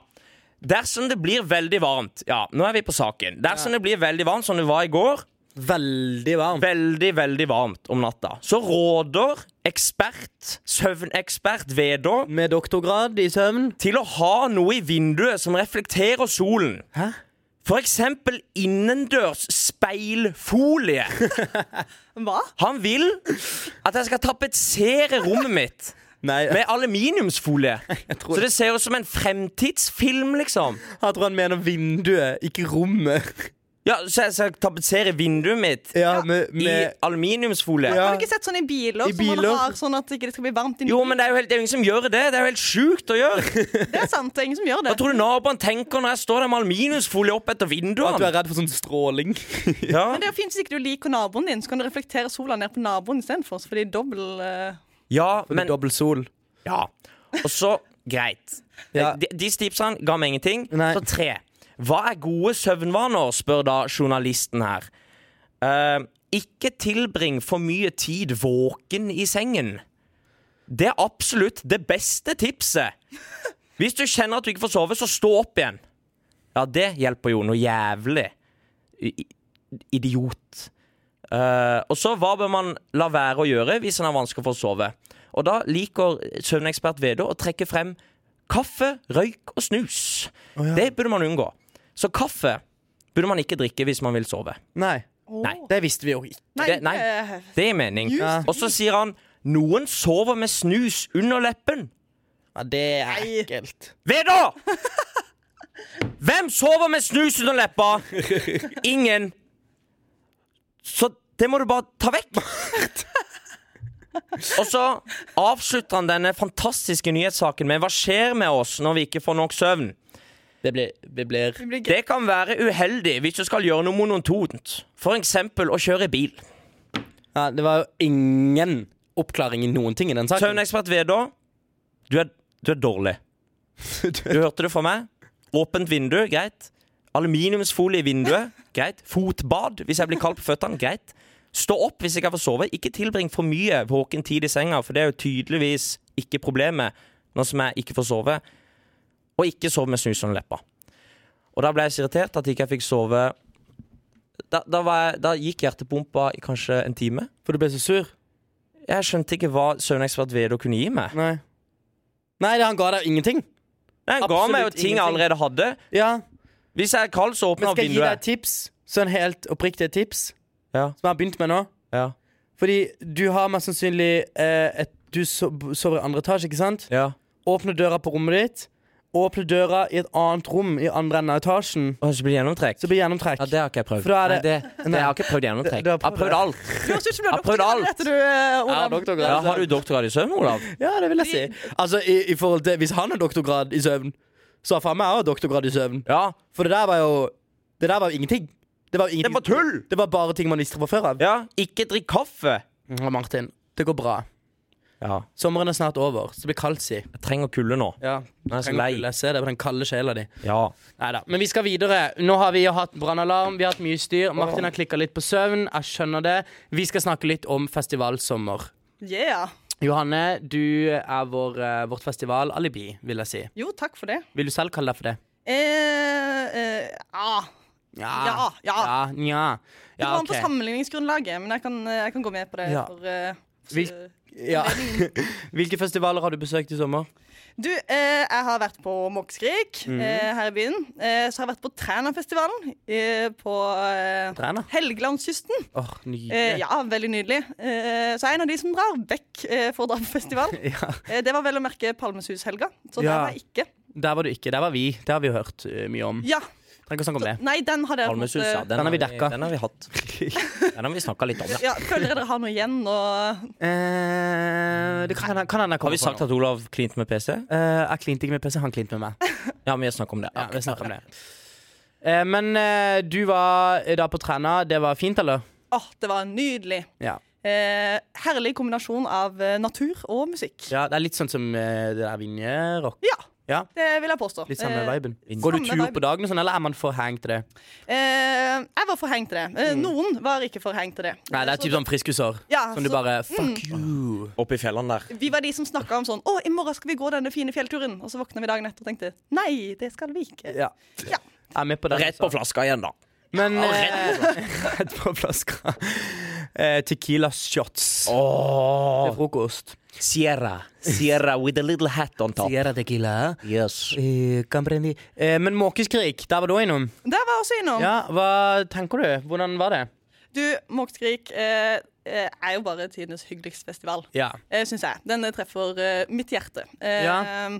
Dersom det blir veldig varmt Ja, nå er vi på saken. Dersom det blir veldig varmt, som det var i går, veldig varmt? veldig, veldig varmt om natta, så råder ekspert, søvnekspert Vedå Med doktorgrad i søvn? til å ha noe i vinduet som reflekterer solen. Hæ? For eksempel innendørs speilfolie. Hva? Han vil at jeg skal tapetsere rommet mitt Nei, med aluminiumsfolie. Så tror- det ser ut som en fremtidsfilm, liksom. jeg tror han mener vinduet, ikke rommet. Ja, Så jeg skal tapetsere vinduet mitt Ja, med, i med aluminiumsfolie. Ja. Har du ikke sett sånn i biler? I som man biler? har sånn at det ikke skal bli varmt inni Jo, men det er jo, helt, det er jo ingen som gjør det. Det er jo helt sjukt å gjøre. Det er sant, det er ingen som gjør det. Hva tror du naboen tenker når jeg står der med aluminiumsfolie opp etter At du vinduene? er redd for sånn stråling. Ja. Men det er jo fint hvis ikke du liker naboen din, så kan du reflektere sola ned på naboen istedenfor. Så blir det dobbel eh, ja, Men men dobbel sol. Ja. Og så Greit. Ja. Eh, De, de tipsene ga meg ingenting. Nei. Så tre. Hva er gode søvnvaner, spør da journalisten her. Eh, ikke tilbring for mye tid våken i sengen. Det er absolutt det beste tipset. Hvis du kjenner at du ikke får sove, så stå opp igjen. Ja, det hjelper jo noe jævlig. I- i- Idiot. Eh, og så hva bør man la være å gjøre hvis en har vansker for å sove? Og da liker søvnekspert Vedå å trekke frem kaffe, røyk og snus. Det burde man unngå. Så kaffe burde man ikke drikke hvis man vil sove. Nei. Nei. Det visste vi jo ikke. Nei, Det- nei. eh, Det gir mening. Ja. Og så sier han noen sover med snus under leppen. Ja, det er ekkelt. Vedå! Hvem sover med snus under leppa? Ingen. Så det må du bare ta vekk. Og så avslutter han denne fantastiske nyhetssaken med hva skjer med oss når vi ikke får nok søvn. Det blir, det blir Det blir gøy. Det kan være uheldig hvis du skal gjøre noe monotont, f.eks. å kjøre bil. ja, Det var jo ingen oppklaring i noen ting i den saken. Søvnekspert Vedå, du, er- du er dårlig. Du hørte det fra meg. Åpent vindu, greit. Aluminiumsfolie i vinduet, greit. Fotbad hvis jeg blir kald på føttene, greit. Stå opp hvis jeg ikke får sove. Ikke tilbring for mye våken tid i senga, for det er jo tydeligvis ikke problemet nå som jeg ikke får sove. Og ikke sove med snus under leppa. Og da ble jeg så irritert at ikke jeg fikk sove da, da, var jeg, da gikk hjertepumpa i kanskje en time. For du ble så sur? Jeg skjønte ikke hva søvnekspert Vedå kunne gi meg. Nei. Nei, det- han ga deg ingenting. Nei, Han ga Absolutt meg jo ting jeg ingenting. allerede hadde. Ja, Hvis jeg er kald, så åpner Men han skal jeg gi deg et vinduet. tips? Sånn helt oppriktig et tips? Ja. Som jeg har begynt med nå? Ja. Fordi du har mest sannsynlig eh, et, Du so sover i andre etasje, ikke sant? Ja. Åpne døra på rommet ditt. Åpne døra i et annet rom i andre enden av etasjen. Og så blir det gjennomtrekk. Så blir gjennomtrekk. Ja, det har ikke jeg prøvd. For da er Nei, det- det, Nei. det har jeg ikke prøvd gjennomtrekk. Du har Jeg har prøvd prøvd alt. Du høres ut som du Jeg har prøvd doktorgrad, alt. dette, du, eh, Olav. Ja, har du doktorgrad i søvn, Olav? Ja, det vil jeg si. Altså, i, i forhold til Hvis han har doktorgrad i søvn, så har faen meg òg doktorgrad i søvn. Ja. For det der var jo Det der var jo ingenting. Det var, jo ingenting. var tull! Det var bare ting man visste fra før av. ja. Ikke drikk kaffe. Ja, Martin, det går bra. Ja. Sommeren er snart over, så det blir kaldt, si. Jeg trenger kulde nå. Ja, Nå er jeg så trenger lei. ikke lese det på den kalde sjela di. Ja. Neida. Men vi skal videre. Nå har vi jo hatt brannalarm, vi har hatt mye styr. Martin har klikka litt på søvn, jeg skjønner det. Vi skal snakke litt om festivalsommer. Yeah. Johanne, du er vår, eh, vårt festivalalibi, vil jeg si. Jo, takk for det. Vil du selv kalle deg for det? Eh, eh, ah. Ja, ja. Ja, nja. Det Ja, var ok. på sammenligningsgrunnlaget, men jeg kan, eh, jeg kan gå med på det. Ja. For, eh, Hvil- eh, ja. Hvilke festivaler har du besøkt i sommer? Du, eh, jeg har vært på Måkeskrik eh, Mhm. her i byen. Eh, så har jeg vært på Trænafestivalen eh, på eh, Træna? Helgelandskysten. Åh, nydelig. Eh, ja, veldig nydelig. Eh, så jeg er en av de som drar vekk eh, for å dra på festival. Ja. Eh, det var vel å merke Palmesushelga, så der Ja. var jeg ikke. Der var du ikke. Der var vi. Det har vi jo hørt eh, mye om. Ja, Trenger ikke å snakke om det. Nei, den hadde jeg på en Almesus, ja. måte- Den har vi dekka. Den har vi hatt. Den har vi snakka litt om, ja. ja, Føler dere dere har noe igjen? Og... Eh, det kan, kan hende Har jeg kommer vi på sagt noe. at Olav klinte med PC? Eh, jeg klinte ikke med PC, han klinte med meg. Ja, vi har snakka om det. Ja, vi snakker om det. Eh, men eh, du var eh, da på Træna. Det var fint, eller? Åh, ah, det var nydelig. Ja. Eh, herlig kombinasjon av eh, natur og musikk. ja. Det er litt sånn som eh, det der Vinjerock. Ja, Ja. det vil jeg påstå. Litt samme Eh, viben. Går du Samme tur viben. på dagen, og sånn, eller er man for hang til det? Eh, jeg var forhengt til det. Eh, Noen var ikke forhengt til det. Mm. Nei, det er typ sånn friskusår. Ja, som du så- mm. bare Fuck you. Oppe i fjellene der. Vi var de som snakka om sånn Å, i morgen skal vi gå denne fine fjellturen. Og så våkna vi dagen etter og tenkte nei, det skal vi ikke. Ja. Ja. Jeg er med på den. altså. Rett på flaska igjen, da. Men eh, Rett på flaska. Eh, tequila shots til Oh. frokost. Sierra. Sierra with a little hat on top. Sierra tequila. Yes. Eh, Camprendi. Eh, men Måkeskrik, der var du innom. Der var jeg også innom. Ja, hva tenker du? Hvordan var det? Du, Måkeskrik eh, eh, er jo bare tidenes hyggeligste festival, Ja. eh, syns jeg. Den eh, treffer eh, mitt hjerte. Eh, Ja.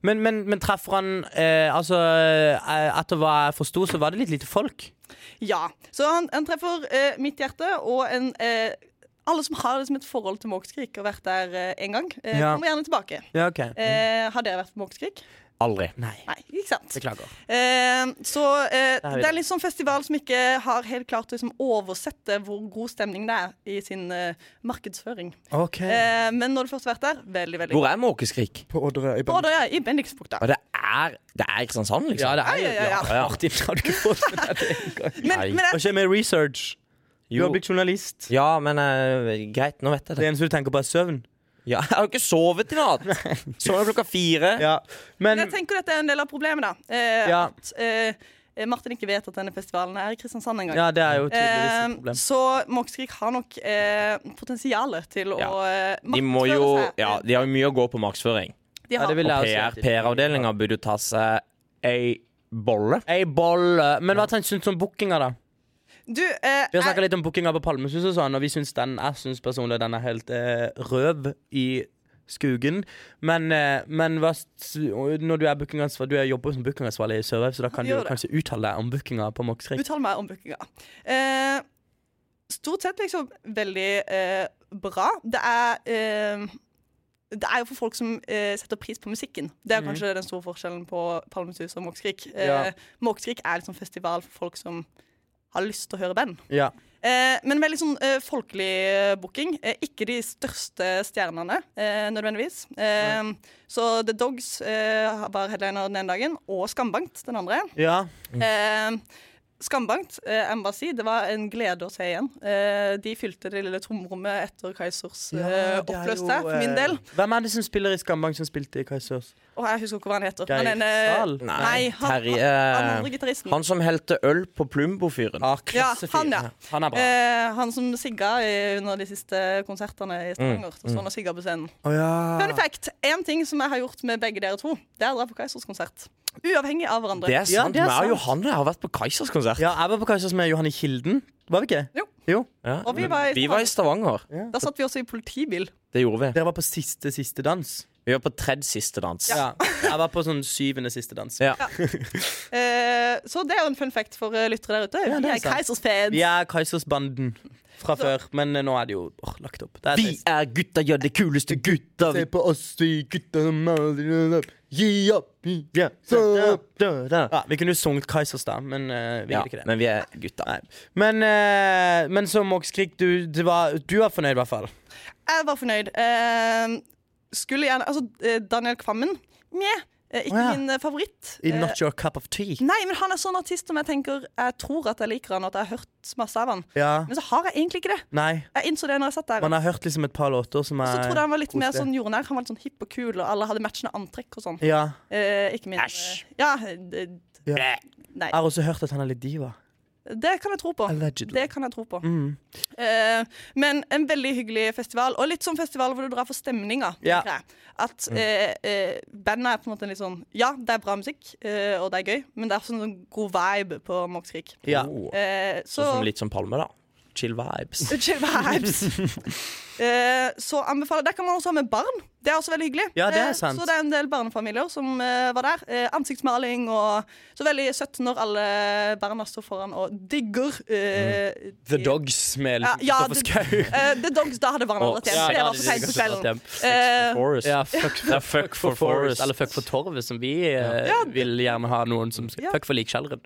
Men, men, men treffer han eh, Altså, eh, etter hva jeg forsto, så var det litt lite folk. Ja. Så han, han treffer eh, mitt hjerte og en eh, alle som har liksom et forhold til Måkeskrik og vært der eh, en gang, eh, Ja. kommer gjerne tilbake. Ja, ok Eh, har dere vært på Måkeskrik? Aldri. Nei. Nei, ikke sant? Beklager. Eh, så eh, er vi det er en litt sånn festival som ikke har helt klart å liksom, oversette hvor god stemning det er i sin eh, markedsføring. OK. Eh, men når du først har vært der, veldig, veldig Hvor er Måkeskrik? På Odderøy i Både ja, i Bendiksbukta. Ja, Det er, det er Kristiansand, liksom? Ja, det er jo Ja, ja, ja, ja. ja, Martin, har du ikke fått med deg det engang? Men, Nei. men Hva jeg, skjer med research? Du har blitt journalist. Ja, men eh, greit, nå vet jeg Det det. eneste du tenker på, er søvn. Ja, jeg har jo ikke sovet i natt! Sov klokka fire. Ja. Men men jeg tenker dette er en del av problemet, da. Eh, Ja. At eh, Martin ikke vet at denne festivalen er i Kristiansand engang. Ja, det er jo tydeligvis et Eh, problem. så Måkeskrik har nok eh, potensial til Ja. å eh, De må markedsføre jo seg. Ja, de har jo mye å gå på markedsføring. De Ja, har det vil jeg PR, også si. PR-avdelinga burde jo ta seg ei bolle. Ei bolle. Men hva tenker- syns du om bookinga, da? Du, eh, Vi har jeg- snakka litt om bookinga på Palmesus, og sånn Og vi syns den, jeg syns personlig den er helt eh, røv i Skugen. Men, eh, men hva, s- når du er bookingansvarlig Du er- jobber som bookingansvarlig i Sørvei, så da kan du Gjør jo det. kanskje uttale deg om bookinga på Moxrik. Uttal meg om bookinga. Eh, stort sett liksom veldig eh, bra. Det er eh, det er jo for folk som eh, setter pris på musikken. Det er kanskje den store forskjellen på Palmesus og Måkeskrik. Eh, Ja. Måkeskrik er liksom festival for folk som har lyst til å høre band. Ja. Eh, men veldig sånn eh, folkelig eh, booking. Eh, ikke de største stjernene, eh, nødvendigvis. Eh, så The Dogs eh, var headliner den ene dagen, og Skambankt den andre. ja. Eh, Skambankt, eh, jeg må bare si, det var en glede å se igjen. Eh, de fylte det lille tomrommet etter Kaizers eh, oppløste, for min del. Hvem er det som spiller i Skambank, som spilte i Kaizers? Og jeg husker ikke hva han heter. Geir men en, eh, Sahl? Nei, Nei, han, han, Terje- han andre gitaristen. Han som helte øl på Plumbo-fyren. Ah, Ja, klassefyr. han, ja. Han er bra. Eh, han som sigga eh, under de siste konsertene Mm, i Stavanger. Så står han og sigger på scenen. Å, ja. Fun fact, én ting som jeg har gjort med begge dere to, det er å dra på Kaizers konsert. Uavhengig av hverandre. Det er Ja, sant. det er Vi og sant. Johanne har vært på Kaizers konsert. ja, jeg var på Kaizers med Johanne Kilden. Var vi ikke? Jo. jo. Ja, Og vi men var i vi var i Stavanger. Da satt vi også i politibil. Det gjorde vi. Dere var på siste, siste dans. Vi var på tredje siste dans. Ja. Jeg var på sånn syvende siste dans. Ja. Eh, så det er jo en fun fact for eh, lyttere der ute. Ja, det vi er er sant. Kaizers-fans. Vi er Keisersbanden fra før, men eh, nå er det jo åh, lagt opp. Det er Vi trist. er gutta, ja, de kuleste gutta. Vi på oss, vi gutta Gi opp, gi Ja, vi kunne jo sunget Kaizers, da, men eh, vi ja, gjorde ikke det. men vi er gutta. Men, eh, men så, Mox Krik, du, det var, du var fornøyd, i hvert fall. Eh. Jeg var fornøyd. Eh, skulle gjerne Altså, eh, Daniel Kvammen Mjau. Eh, ikke Å, ja. min eh, favoritt. I Eh, Not Your Cup of Tea. nei, men han er sånn artist som jeg tenker Jeg tror at jeg liker han, og at jeg har hørt masse av han. Ja. Men så har jeg egentlig ikke det. Nei. Jeg innså det når jeg satt der. Man har hørt liksom et par låter som er Så trodde jeg han var litt mer koselig. sånn jordnær. Han var litt sånn hipp og kul, og alle hadde matchende antrekk og sånn. Ja. Eh, ikke min Æsj. Ja, det, ja. nei. Jeg har også hørt at han er litt diva. Det kan jeg tro på. Allegedly. Mm. Det kan jeg tro på. Eh, men en veldig hyggelig festival, og litt sånn festival hvor du drar for stemninga. Ja. Mm. tenker jeg. At eh, eh, bandet er på en måte litt sånn Ja, det er bra musikk, eh, og det er gøy, men det er også en sånn god vibe på Moxkrik. Ja. Oh. Eh, så Sånn som litt som Palme, da. Chill vibes. Chill vibes. Eh, så anbefaler Der kan man også ha med barn. Det er også veldig hyggelig. Ja, det er Eh, sant. Så det er en del barnefamilier som eh, var der. Eh, ansiktsmaling og Så veldig søtt når alle barna står foran og digger eh, Mm. The de- Dogs med Ja, liksom ja, Kristoffer det- Schau. Eh, The Dogs, da hadde barna Å, dratt hjem. ja, for det ja, var de for seint på hadde kvelden. Eh, Forest. Ja, fuck, Ja, fuck for Forest. Eller fuck for Torvet, som vi eh, vil gjerne ha noen som skal Ja. Fuck for Likkjelleren.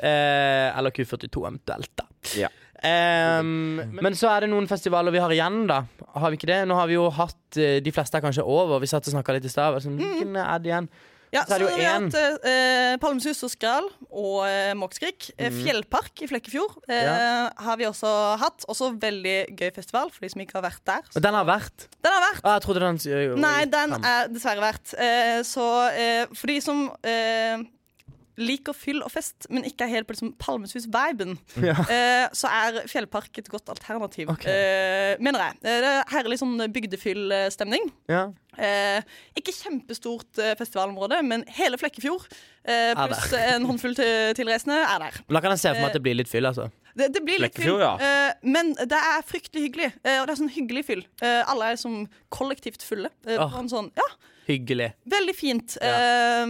Eh, eller Q42 eventuelt, da. Ja. Ehm, men så er det noen festivaler vi har igjen, da. Har vi ikke det? Nå har vi jo hatt eh, De fleste er kanskje over. Vi satt og snakka litt i stad. var Sånn, hvilken er det igjen? ja, Så er det jo så vi har en- hatt eh, Palmesus og Skral og eh, Måkskrik. Eh, Fjellpark i Flekkefjord eh, Mhm. Ja. har vi også hatt. Også veldig gøy festival for de som ikke har vært der. Og den har vært. Den har vært. Ah, jeg trodde den eh, Nei, den fram. er dessverre verdt. Eh, så eh, for de som eh, liker fyll og fest, men ikke er helt på liksom, Palmesus-viben, Ja. eh, så er Fjellpark et godt alternativ, Ok. eh, mener jeg. Eh, det er herlig sånn bygdefyll-stemning. ja. Eh, ikke kjempestort eh, festivalområde, men hele Flekkefjord eh, der. pluss en håndfull til, tilreisende er der. Men Da kan jeg se for meg at det Eh, blir litt fyll, altså. Det, det blir litt fyll, Flekkefjord, ja. eh, men det er fryktelig hyggelig. Eh, og det er sånn hyggelig fyll. Eh, alle er som kollektivt fulle. Eh, Ah. på en sånn, ja, Hyggelig. Veldig fint. eh,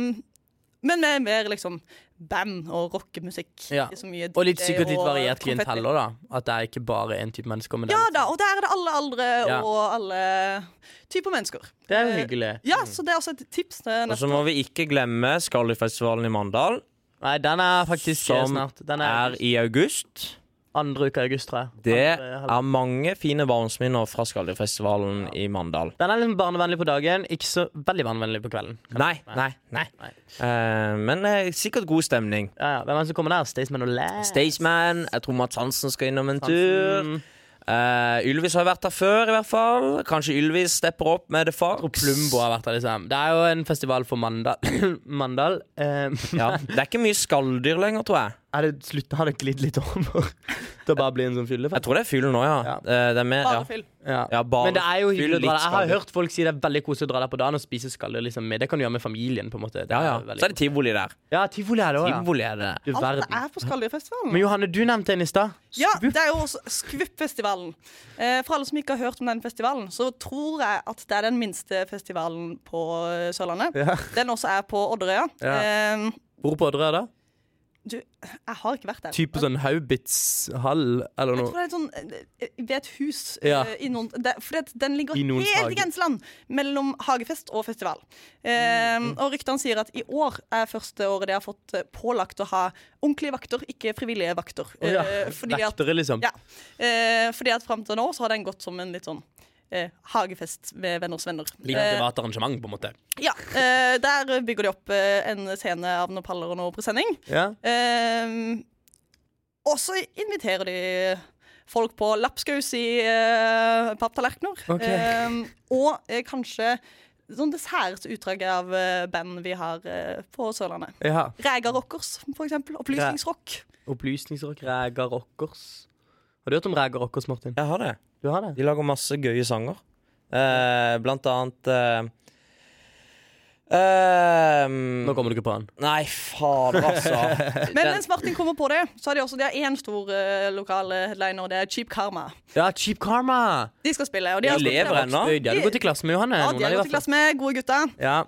men med mer liksom band og rockemusikk. Ja. Ikke så mye Og litt DJ sikkert litt og variert konfetti. klientell òg, da. At det er ikke bare én type mennesker. Men det er Ja litt- da, og der er det alle aldre Ja. og alle typer mennesker. Det er jo Eh, hyggelig. Ja, Så det er også et tips. til Og neste- så må vi ikke glemme Skalifestivalen i Mandal, Nei, den er faktisk som snart. Den er, er i august. andre uka i august, tror jeg. Det Andre halv- er mange fine barndomsminner fra Skallefestivalen i Mandal. Den er litt barnevennlig på dagen, ikke så veldig barnevennlig på kvelden. Nei, nei, nei. Nei. Eh, men eh, sikkert god stemning. Ja, ja. Hvem er det som kommer der? Staysman og Lass? Staysman. Jeg tror Mats Hansen skal innom en tur. Mm. Eh, Ylvis har vært der før, i hvert fall. Kanskje Ylvis stepper opp med The Og Fox. Plumbo har vært der, liksom. Det er jo en festival for Mandal. Mandal. Eh, Ja, det er ikke mye skalldyr lenger, tror jeg. er det slutt, har det glidd litt over til å bare bli en sånn Jeg fyllefest. tror det er fyll nå, ja. Ja. Eh, Det er med, Bare ja. fyll. Ja. Ja, bare Men det er jo fyll, hyggelig å dra litt der. Jeg har skalldyr. hørt folk si det er veldig koselig å dra der på dagen og spise skaller. Liksom. med. Det kan du gjøre med familien. på en måte. Det Ja, ja. er veldig Så er det tivoli der. koselig. ja tivoli er det òg, ja. Tivoli er det. Du Alt verden. er på Skalldyrfestivalen. Men Johanne, du nevnte en i stad. Ja, det er jo også Skvupp-festivalen. Eh, for alle som ikke har hørt om den festivalen, så tror jeg at det er den minste festivalen på eh, Sørlandet. Ja. Den også er på Odderøya. Eh, Hvor på Odderøya da? du, jeg har ikke vært der. Type sånn Haubitz-hall eller Jeg noe? tror det er et sånn eh, ved et hus Ja. eh, i noen det, For det, den ligger I noens helt hage. i grenseland mellom hagefest og festival. Eh, Mm. og ryktene sier at i år er første året de har fått eh, pålagt å ha ordentlige vakter, ikke frivillige vakter. Å ja. Eh, fordi at Vektere, liksom. Ja. Eh, fordi at fram til nå så har den gått som en litt sånn eh, hagefest med venners venner. Litt Eh, privat arrangement, på en måte. ja, eh, Der bygger de opp eh, en scene av noen paller og noe presenning. Ja. Eh, og så inviterer de folk på lapskaus i eh, papptallerkener. Ok. Eh, og eh, kanskje sånn dessert utdrag av eh, band vi har eh, på Sørlandet. ja. Rega Rockers, for eksempel. Opplysningsrock. Opplysningsrock, Ræga Rockers. Har du hørt om Ræga Rockers, Martin? Jeg har det. Du har det? De lager masse gøye sanger. Eh, blant annet eh, ehm, Nå kommer du ikke på han. Nei, fader, altså. Men mens Martin kommer på det, så har de også de har én stor eh, lokal headliner, og det er Cheap Karma. Ja, Cheap Karma! De skal spille. Og de De har lever spilt- ennå. Øy, de hadde gått i klasse med Johanne. Ja, noen av de har de i gått i hvert fall. klasse med gode gutter. Ja.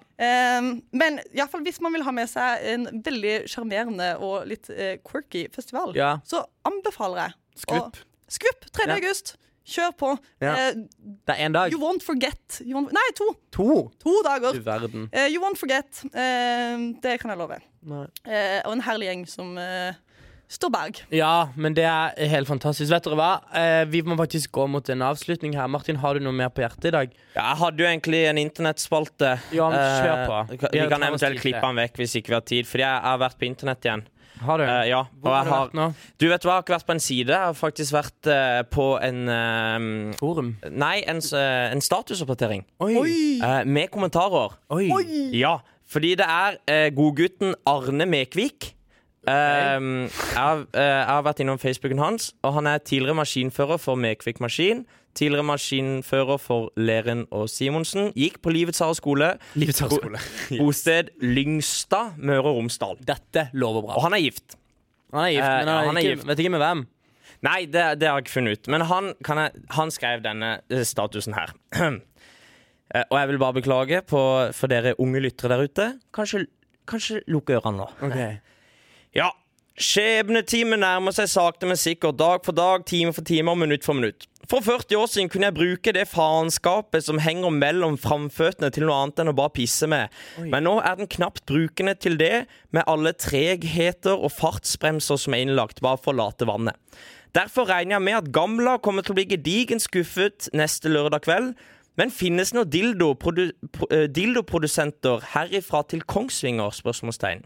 Um, men i alle fall hvis man vil ha med seg en veldig sjarmerende og litt eh, quirky festival, Ja. så anbefaler jeg Skvupp. å- Skvupp! 3. Ja. august. Kjør på. Ja. Eh, Det er én dag. you won't forget. You won't, nei, to. To! To dager. Du verden. Eh, you won't forget. Eh, det kan jeg love. Nei. Eh, og en herlig gjeng som eh, står bak. Ja, men det er helt fantastisk. Vet dere hva? Eh, vi må faktisk gå mot en avslutning her. Martin, har du noe mer på hjertet i dag? Ja, jeg hadde jo egentlig en internettspalte. Ja, men kjør Eh, på. vi Vi kan- Vi tar kan oss eventuelt tid til klippe det. den vekk hvis ikke vi har tid, fordi jeg jeg har vært på internett igjen. Har du? Eh, ja, Hvor og jeg har du har vært nå? Du vet hva, jeg har ikke vært på en side. Jeg har faktisk vært eh, på en eh, Forum. Nei, en, s- eh, en statusoppdatering. Oi! eh, med kommentarer. Oi. Ja, fordi det er eh, godgutten Arne Mekvik. Ehm, jeg, har- eh, jeg har vært innom Facebooken hans, og han er tidligere maskinfører for Mekvik Maskin. Tidligere maskinfører for Leren og Simonsen. Gikk på Livets harde skole. Livets høgskole. Bosted Lyngstad, Møre og Romsdal. Dette lover Og bra. han er gift. Han er gift, Eh, men ja, han, han er ikke, gift. vet ikke med hvem. Nei, det, det har jeg ikke funnet ut. Men han, kan jeg, han skrev denne eh, statusen her. Eh, Og jeg vil bare beklage på, for dere unge lyttere der ute. Kanskje, kanskje lukke ørene nå. Ja. Skjebnetimen nærmer seg sakte, men sikkert. Dag for dag, time for time og minutt for minutt. For 40 år siden kunne jeg bruke det faenskapet som henger mellom framføttene, til noe annet enn å bare pisse med. Men nå er den knapt brukende til det, med alle tregheter og fartsbremser som er innlagt, bare for å late vannet. Derfor regner jeg med at Gamla kommer til å bli gedigent skuffet neste lørdag kveld. Men finnes det noen dildo produ- pro- eh, dildoprodusenter herifra til Kongsvinger? spørsmålstegn.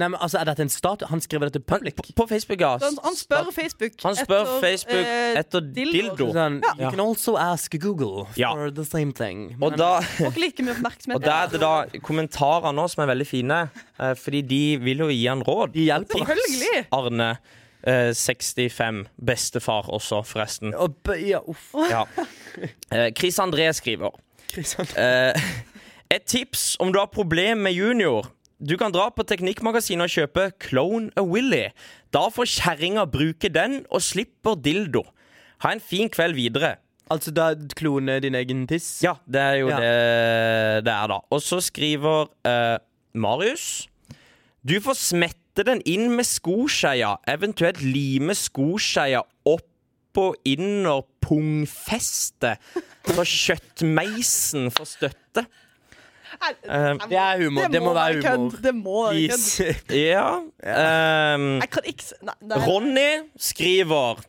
Nei, men altså, Er dette en stat? Han skriver dette public? På- På Facebook, ja. Han, han spør Facebook Han spør etter, Facebook eh, etter dildoer. dildo. Sånn, You Ja. can also ask Google Ja. for the same thing. Og, da, Får ikke like mye oppmerksomhet. og der er det da kommentarer nå som er veldig fine, eh, fordi de vil jo gi han råd. De hjelper. Selvfølgelig! Arne, eh, 65. Bestefar også, forresten. Og b- ja, uff. Ja. Eh, Chris André skriver eh, Et tips om du har problem med junior. Du kan dra på Teknikkmagasinet og kjøpe Clone a Willy. Da får kjerringa bruke den og slipper dildo. Ha en fin kveld videre. Altså, da klone din egen tiss? Ja, det er jo Ja. det det er, da. Og så skriver eh, Marius Du får smette den inn med skoskeia, eventuelt lime skoskeia opp og inner pungfestet, så kjøttmeisen får støtte. Nei, Eh, Det er humor. Det må, være humor. kødd. Det må være kødd. Please. ja. ehm, Jeg kan ikke s- Nei, det er- Ronny skriver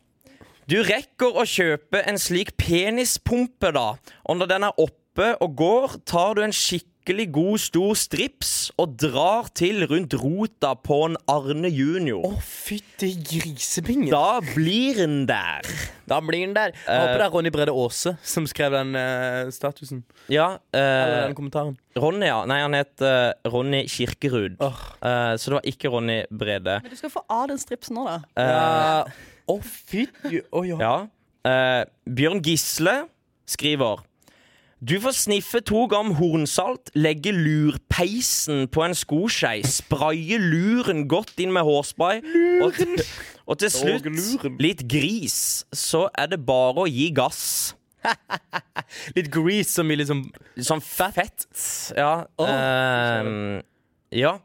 Du rekker å kjøpe en slik penispumpe da Og når den er oppe og går Tar du en skikkelig skikkelig god, stor strips og drar til rundt rota på en Arne junior. Å, fytti grisepingen. Eh. Da blir en der. Da blir den der. Jeg håper det er Ronny Brede Aase som skrev den eh, statusen. Ja, Eller eh, den kommentaren. Ronny, ja. Nei, han het eh, Ronny Kirkerud. Åh. Eh, så det var ikke Ronny Brede. Men du skal få av den stripsen nå, da. Eh, Ja. Å, fytti Å, ja. Ja. Eh, Bjørn Gisle skriver Du får sniffe to gram hornsalt, legge lurpeisen på en skoskei, spraye luren godt inn med hårspray, og, til- og til Og slutt luren. litt gris. Så er det bare å gi gass. Litt grease som i liksom Sånn fett. Ja. ehm, ja.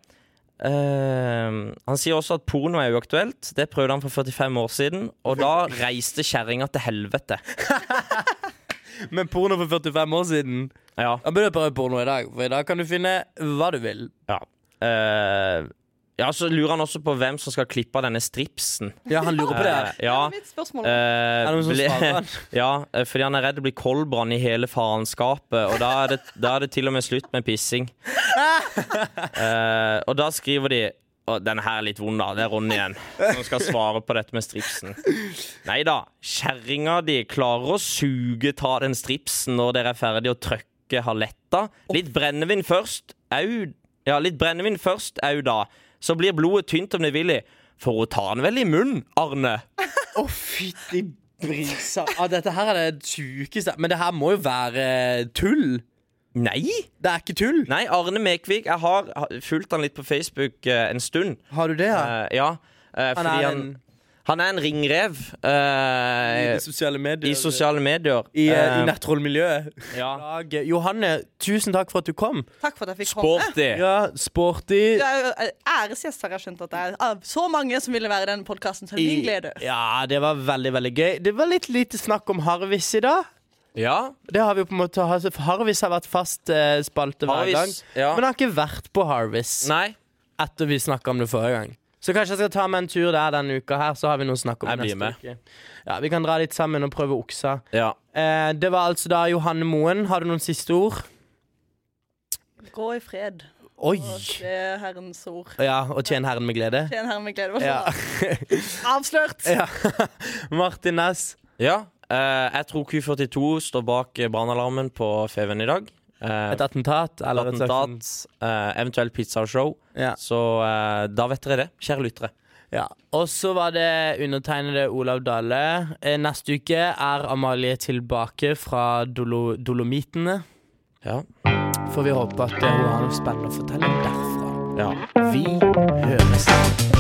Ehm, han sier også at porno er uaktuelt. Det prøvde han for 45 år siden, og da reiste kjerringa til helvete. Men porno for 45 år siden. Ja. Da bør du prøve porno i dag, for i dag kan du finne hva du vil. Ja. Eh, ja, så lurer han også på hvem som skal klippe av denne stripsen. Ja, han lurer på det. her. Eh, ja. Det er mitt spørsmål. eh, Er det noen som ble- svarer han? ja, eh, fordi han er redd det blir koldbrann i hele faenskapet, og da er, det, da er det til og med slutt med pissing. Eh, og da skriver de og den her er litt vond, da. Det er Ronny igjen som skal svare på dette med stripsen. Nei da. Kjerringa di klarer å suge ta den stripsen når dere er ferdig, og trykke haletta. Litt brennevin først. Au. Ja, litt brennevin først, au da. Så blir blodet tynt om det vil i. For hun tar den vel i munnen, Arne? Å, fytti brisa. Ah, dette her er det sjukeste. Men det her må jo være tull. Nei! Det er ikke tull. Nei, Arne Mekvik, jeg har har fulgt han litt på Facebook eh, en stund. Har du det? her? Eh, ja, eh, Han fordi er han, en- han er en ringrev I eh, de sosiale medier. i sosiale medier. I, eh, i Eh, nettrollmiljøet. Ja. Dag- Johanne, tusen takk for at du kom. Takk for at jeg fikk komme. Sporty. Ja, sporty. Du er jo eh, æresgjest, har jeg skjønt. at det er Av så mange som ville være i den podkasten, så er det min glede. Ja, det var veldig, veldig gøy. Det var litt lite snakk om Harvis i dag. Ja. Det har vi jo på en måte Harvis har vært fast eh, spalte hver Harvis, gang. ja. Men har ikke vært på Harvis Nei, etter vi snakka om det forrige gang. Så kanskje jeg skal ta meg en tur der denne uka her, så har vi noe å snakke om Jeg blir neste med. uke. Ja, Vi kan dra litt sammen og prøve oksa. ja. Eh, det var altså da Johanne Moen. Har du noen siste ord? Gå i fred. Oi! Og se Herrens ord. Ja, og tjen Herren med glede. Tjen Herren med glede. Hva Ja. så? Avslørt! ja. Martin Næss. ja. Eh, jeg tror Q42 står bak eh, brannalarmen på Feven i dag. Eh, Et attentat? Eller et attentat, eh, eventuelt pizzashow. Ja. Så eh, da vet dere det, kjære lyttere. Ja. Og så var det undertegnede Olav Dale. Eh, Neste uke er Amalie tilbake fra Dolo Dolomitene. Ja. Får vi håpe at eh, hun har noe spennende å fortelle derfra. ja. Vi høres.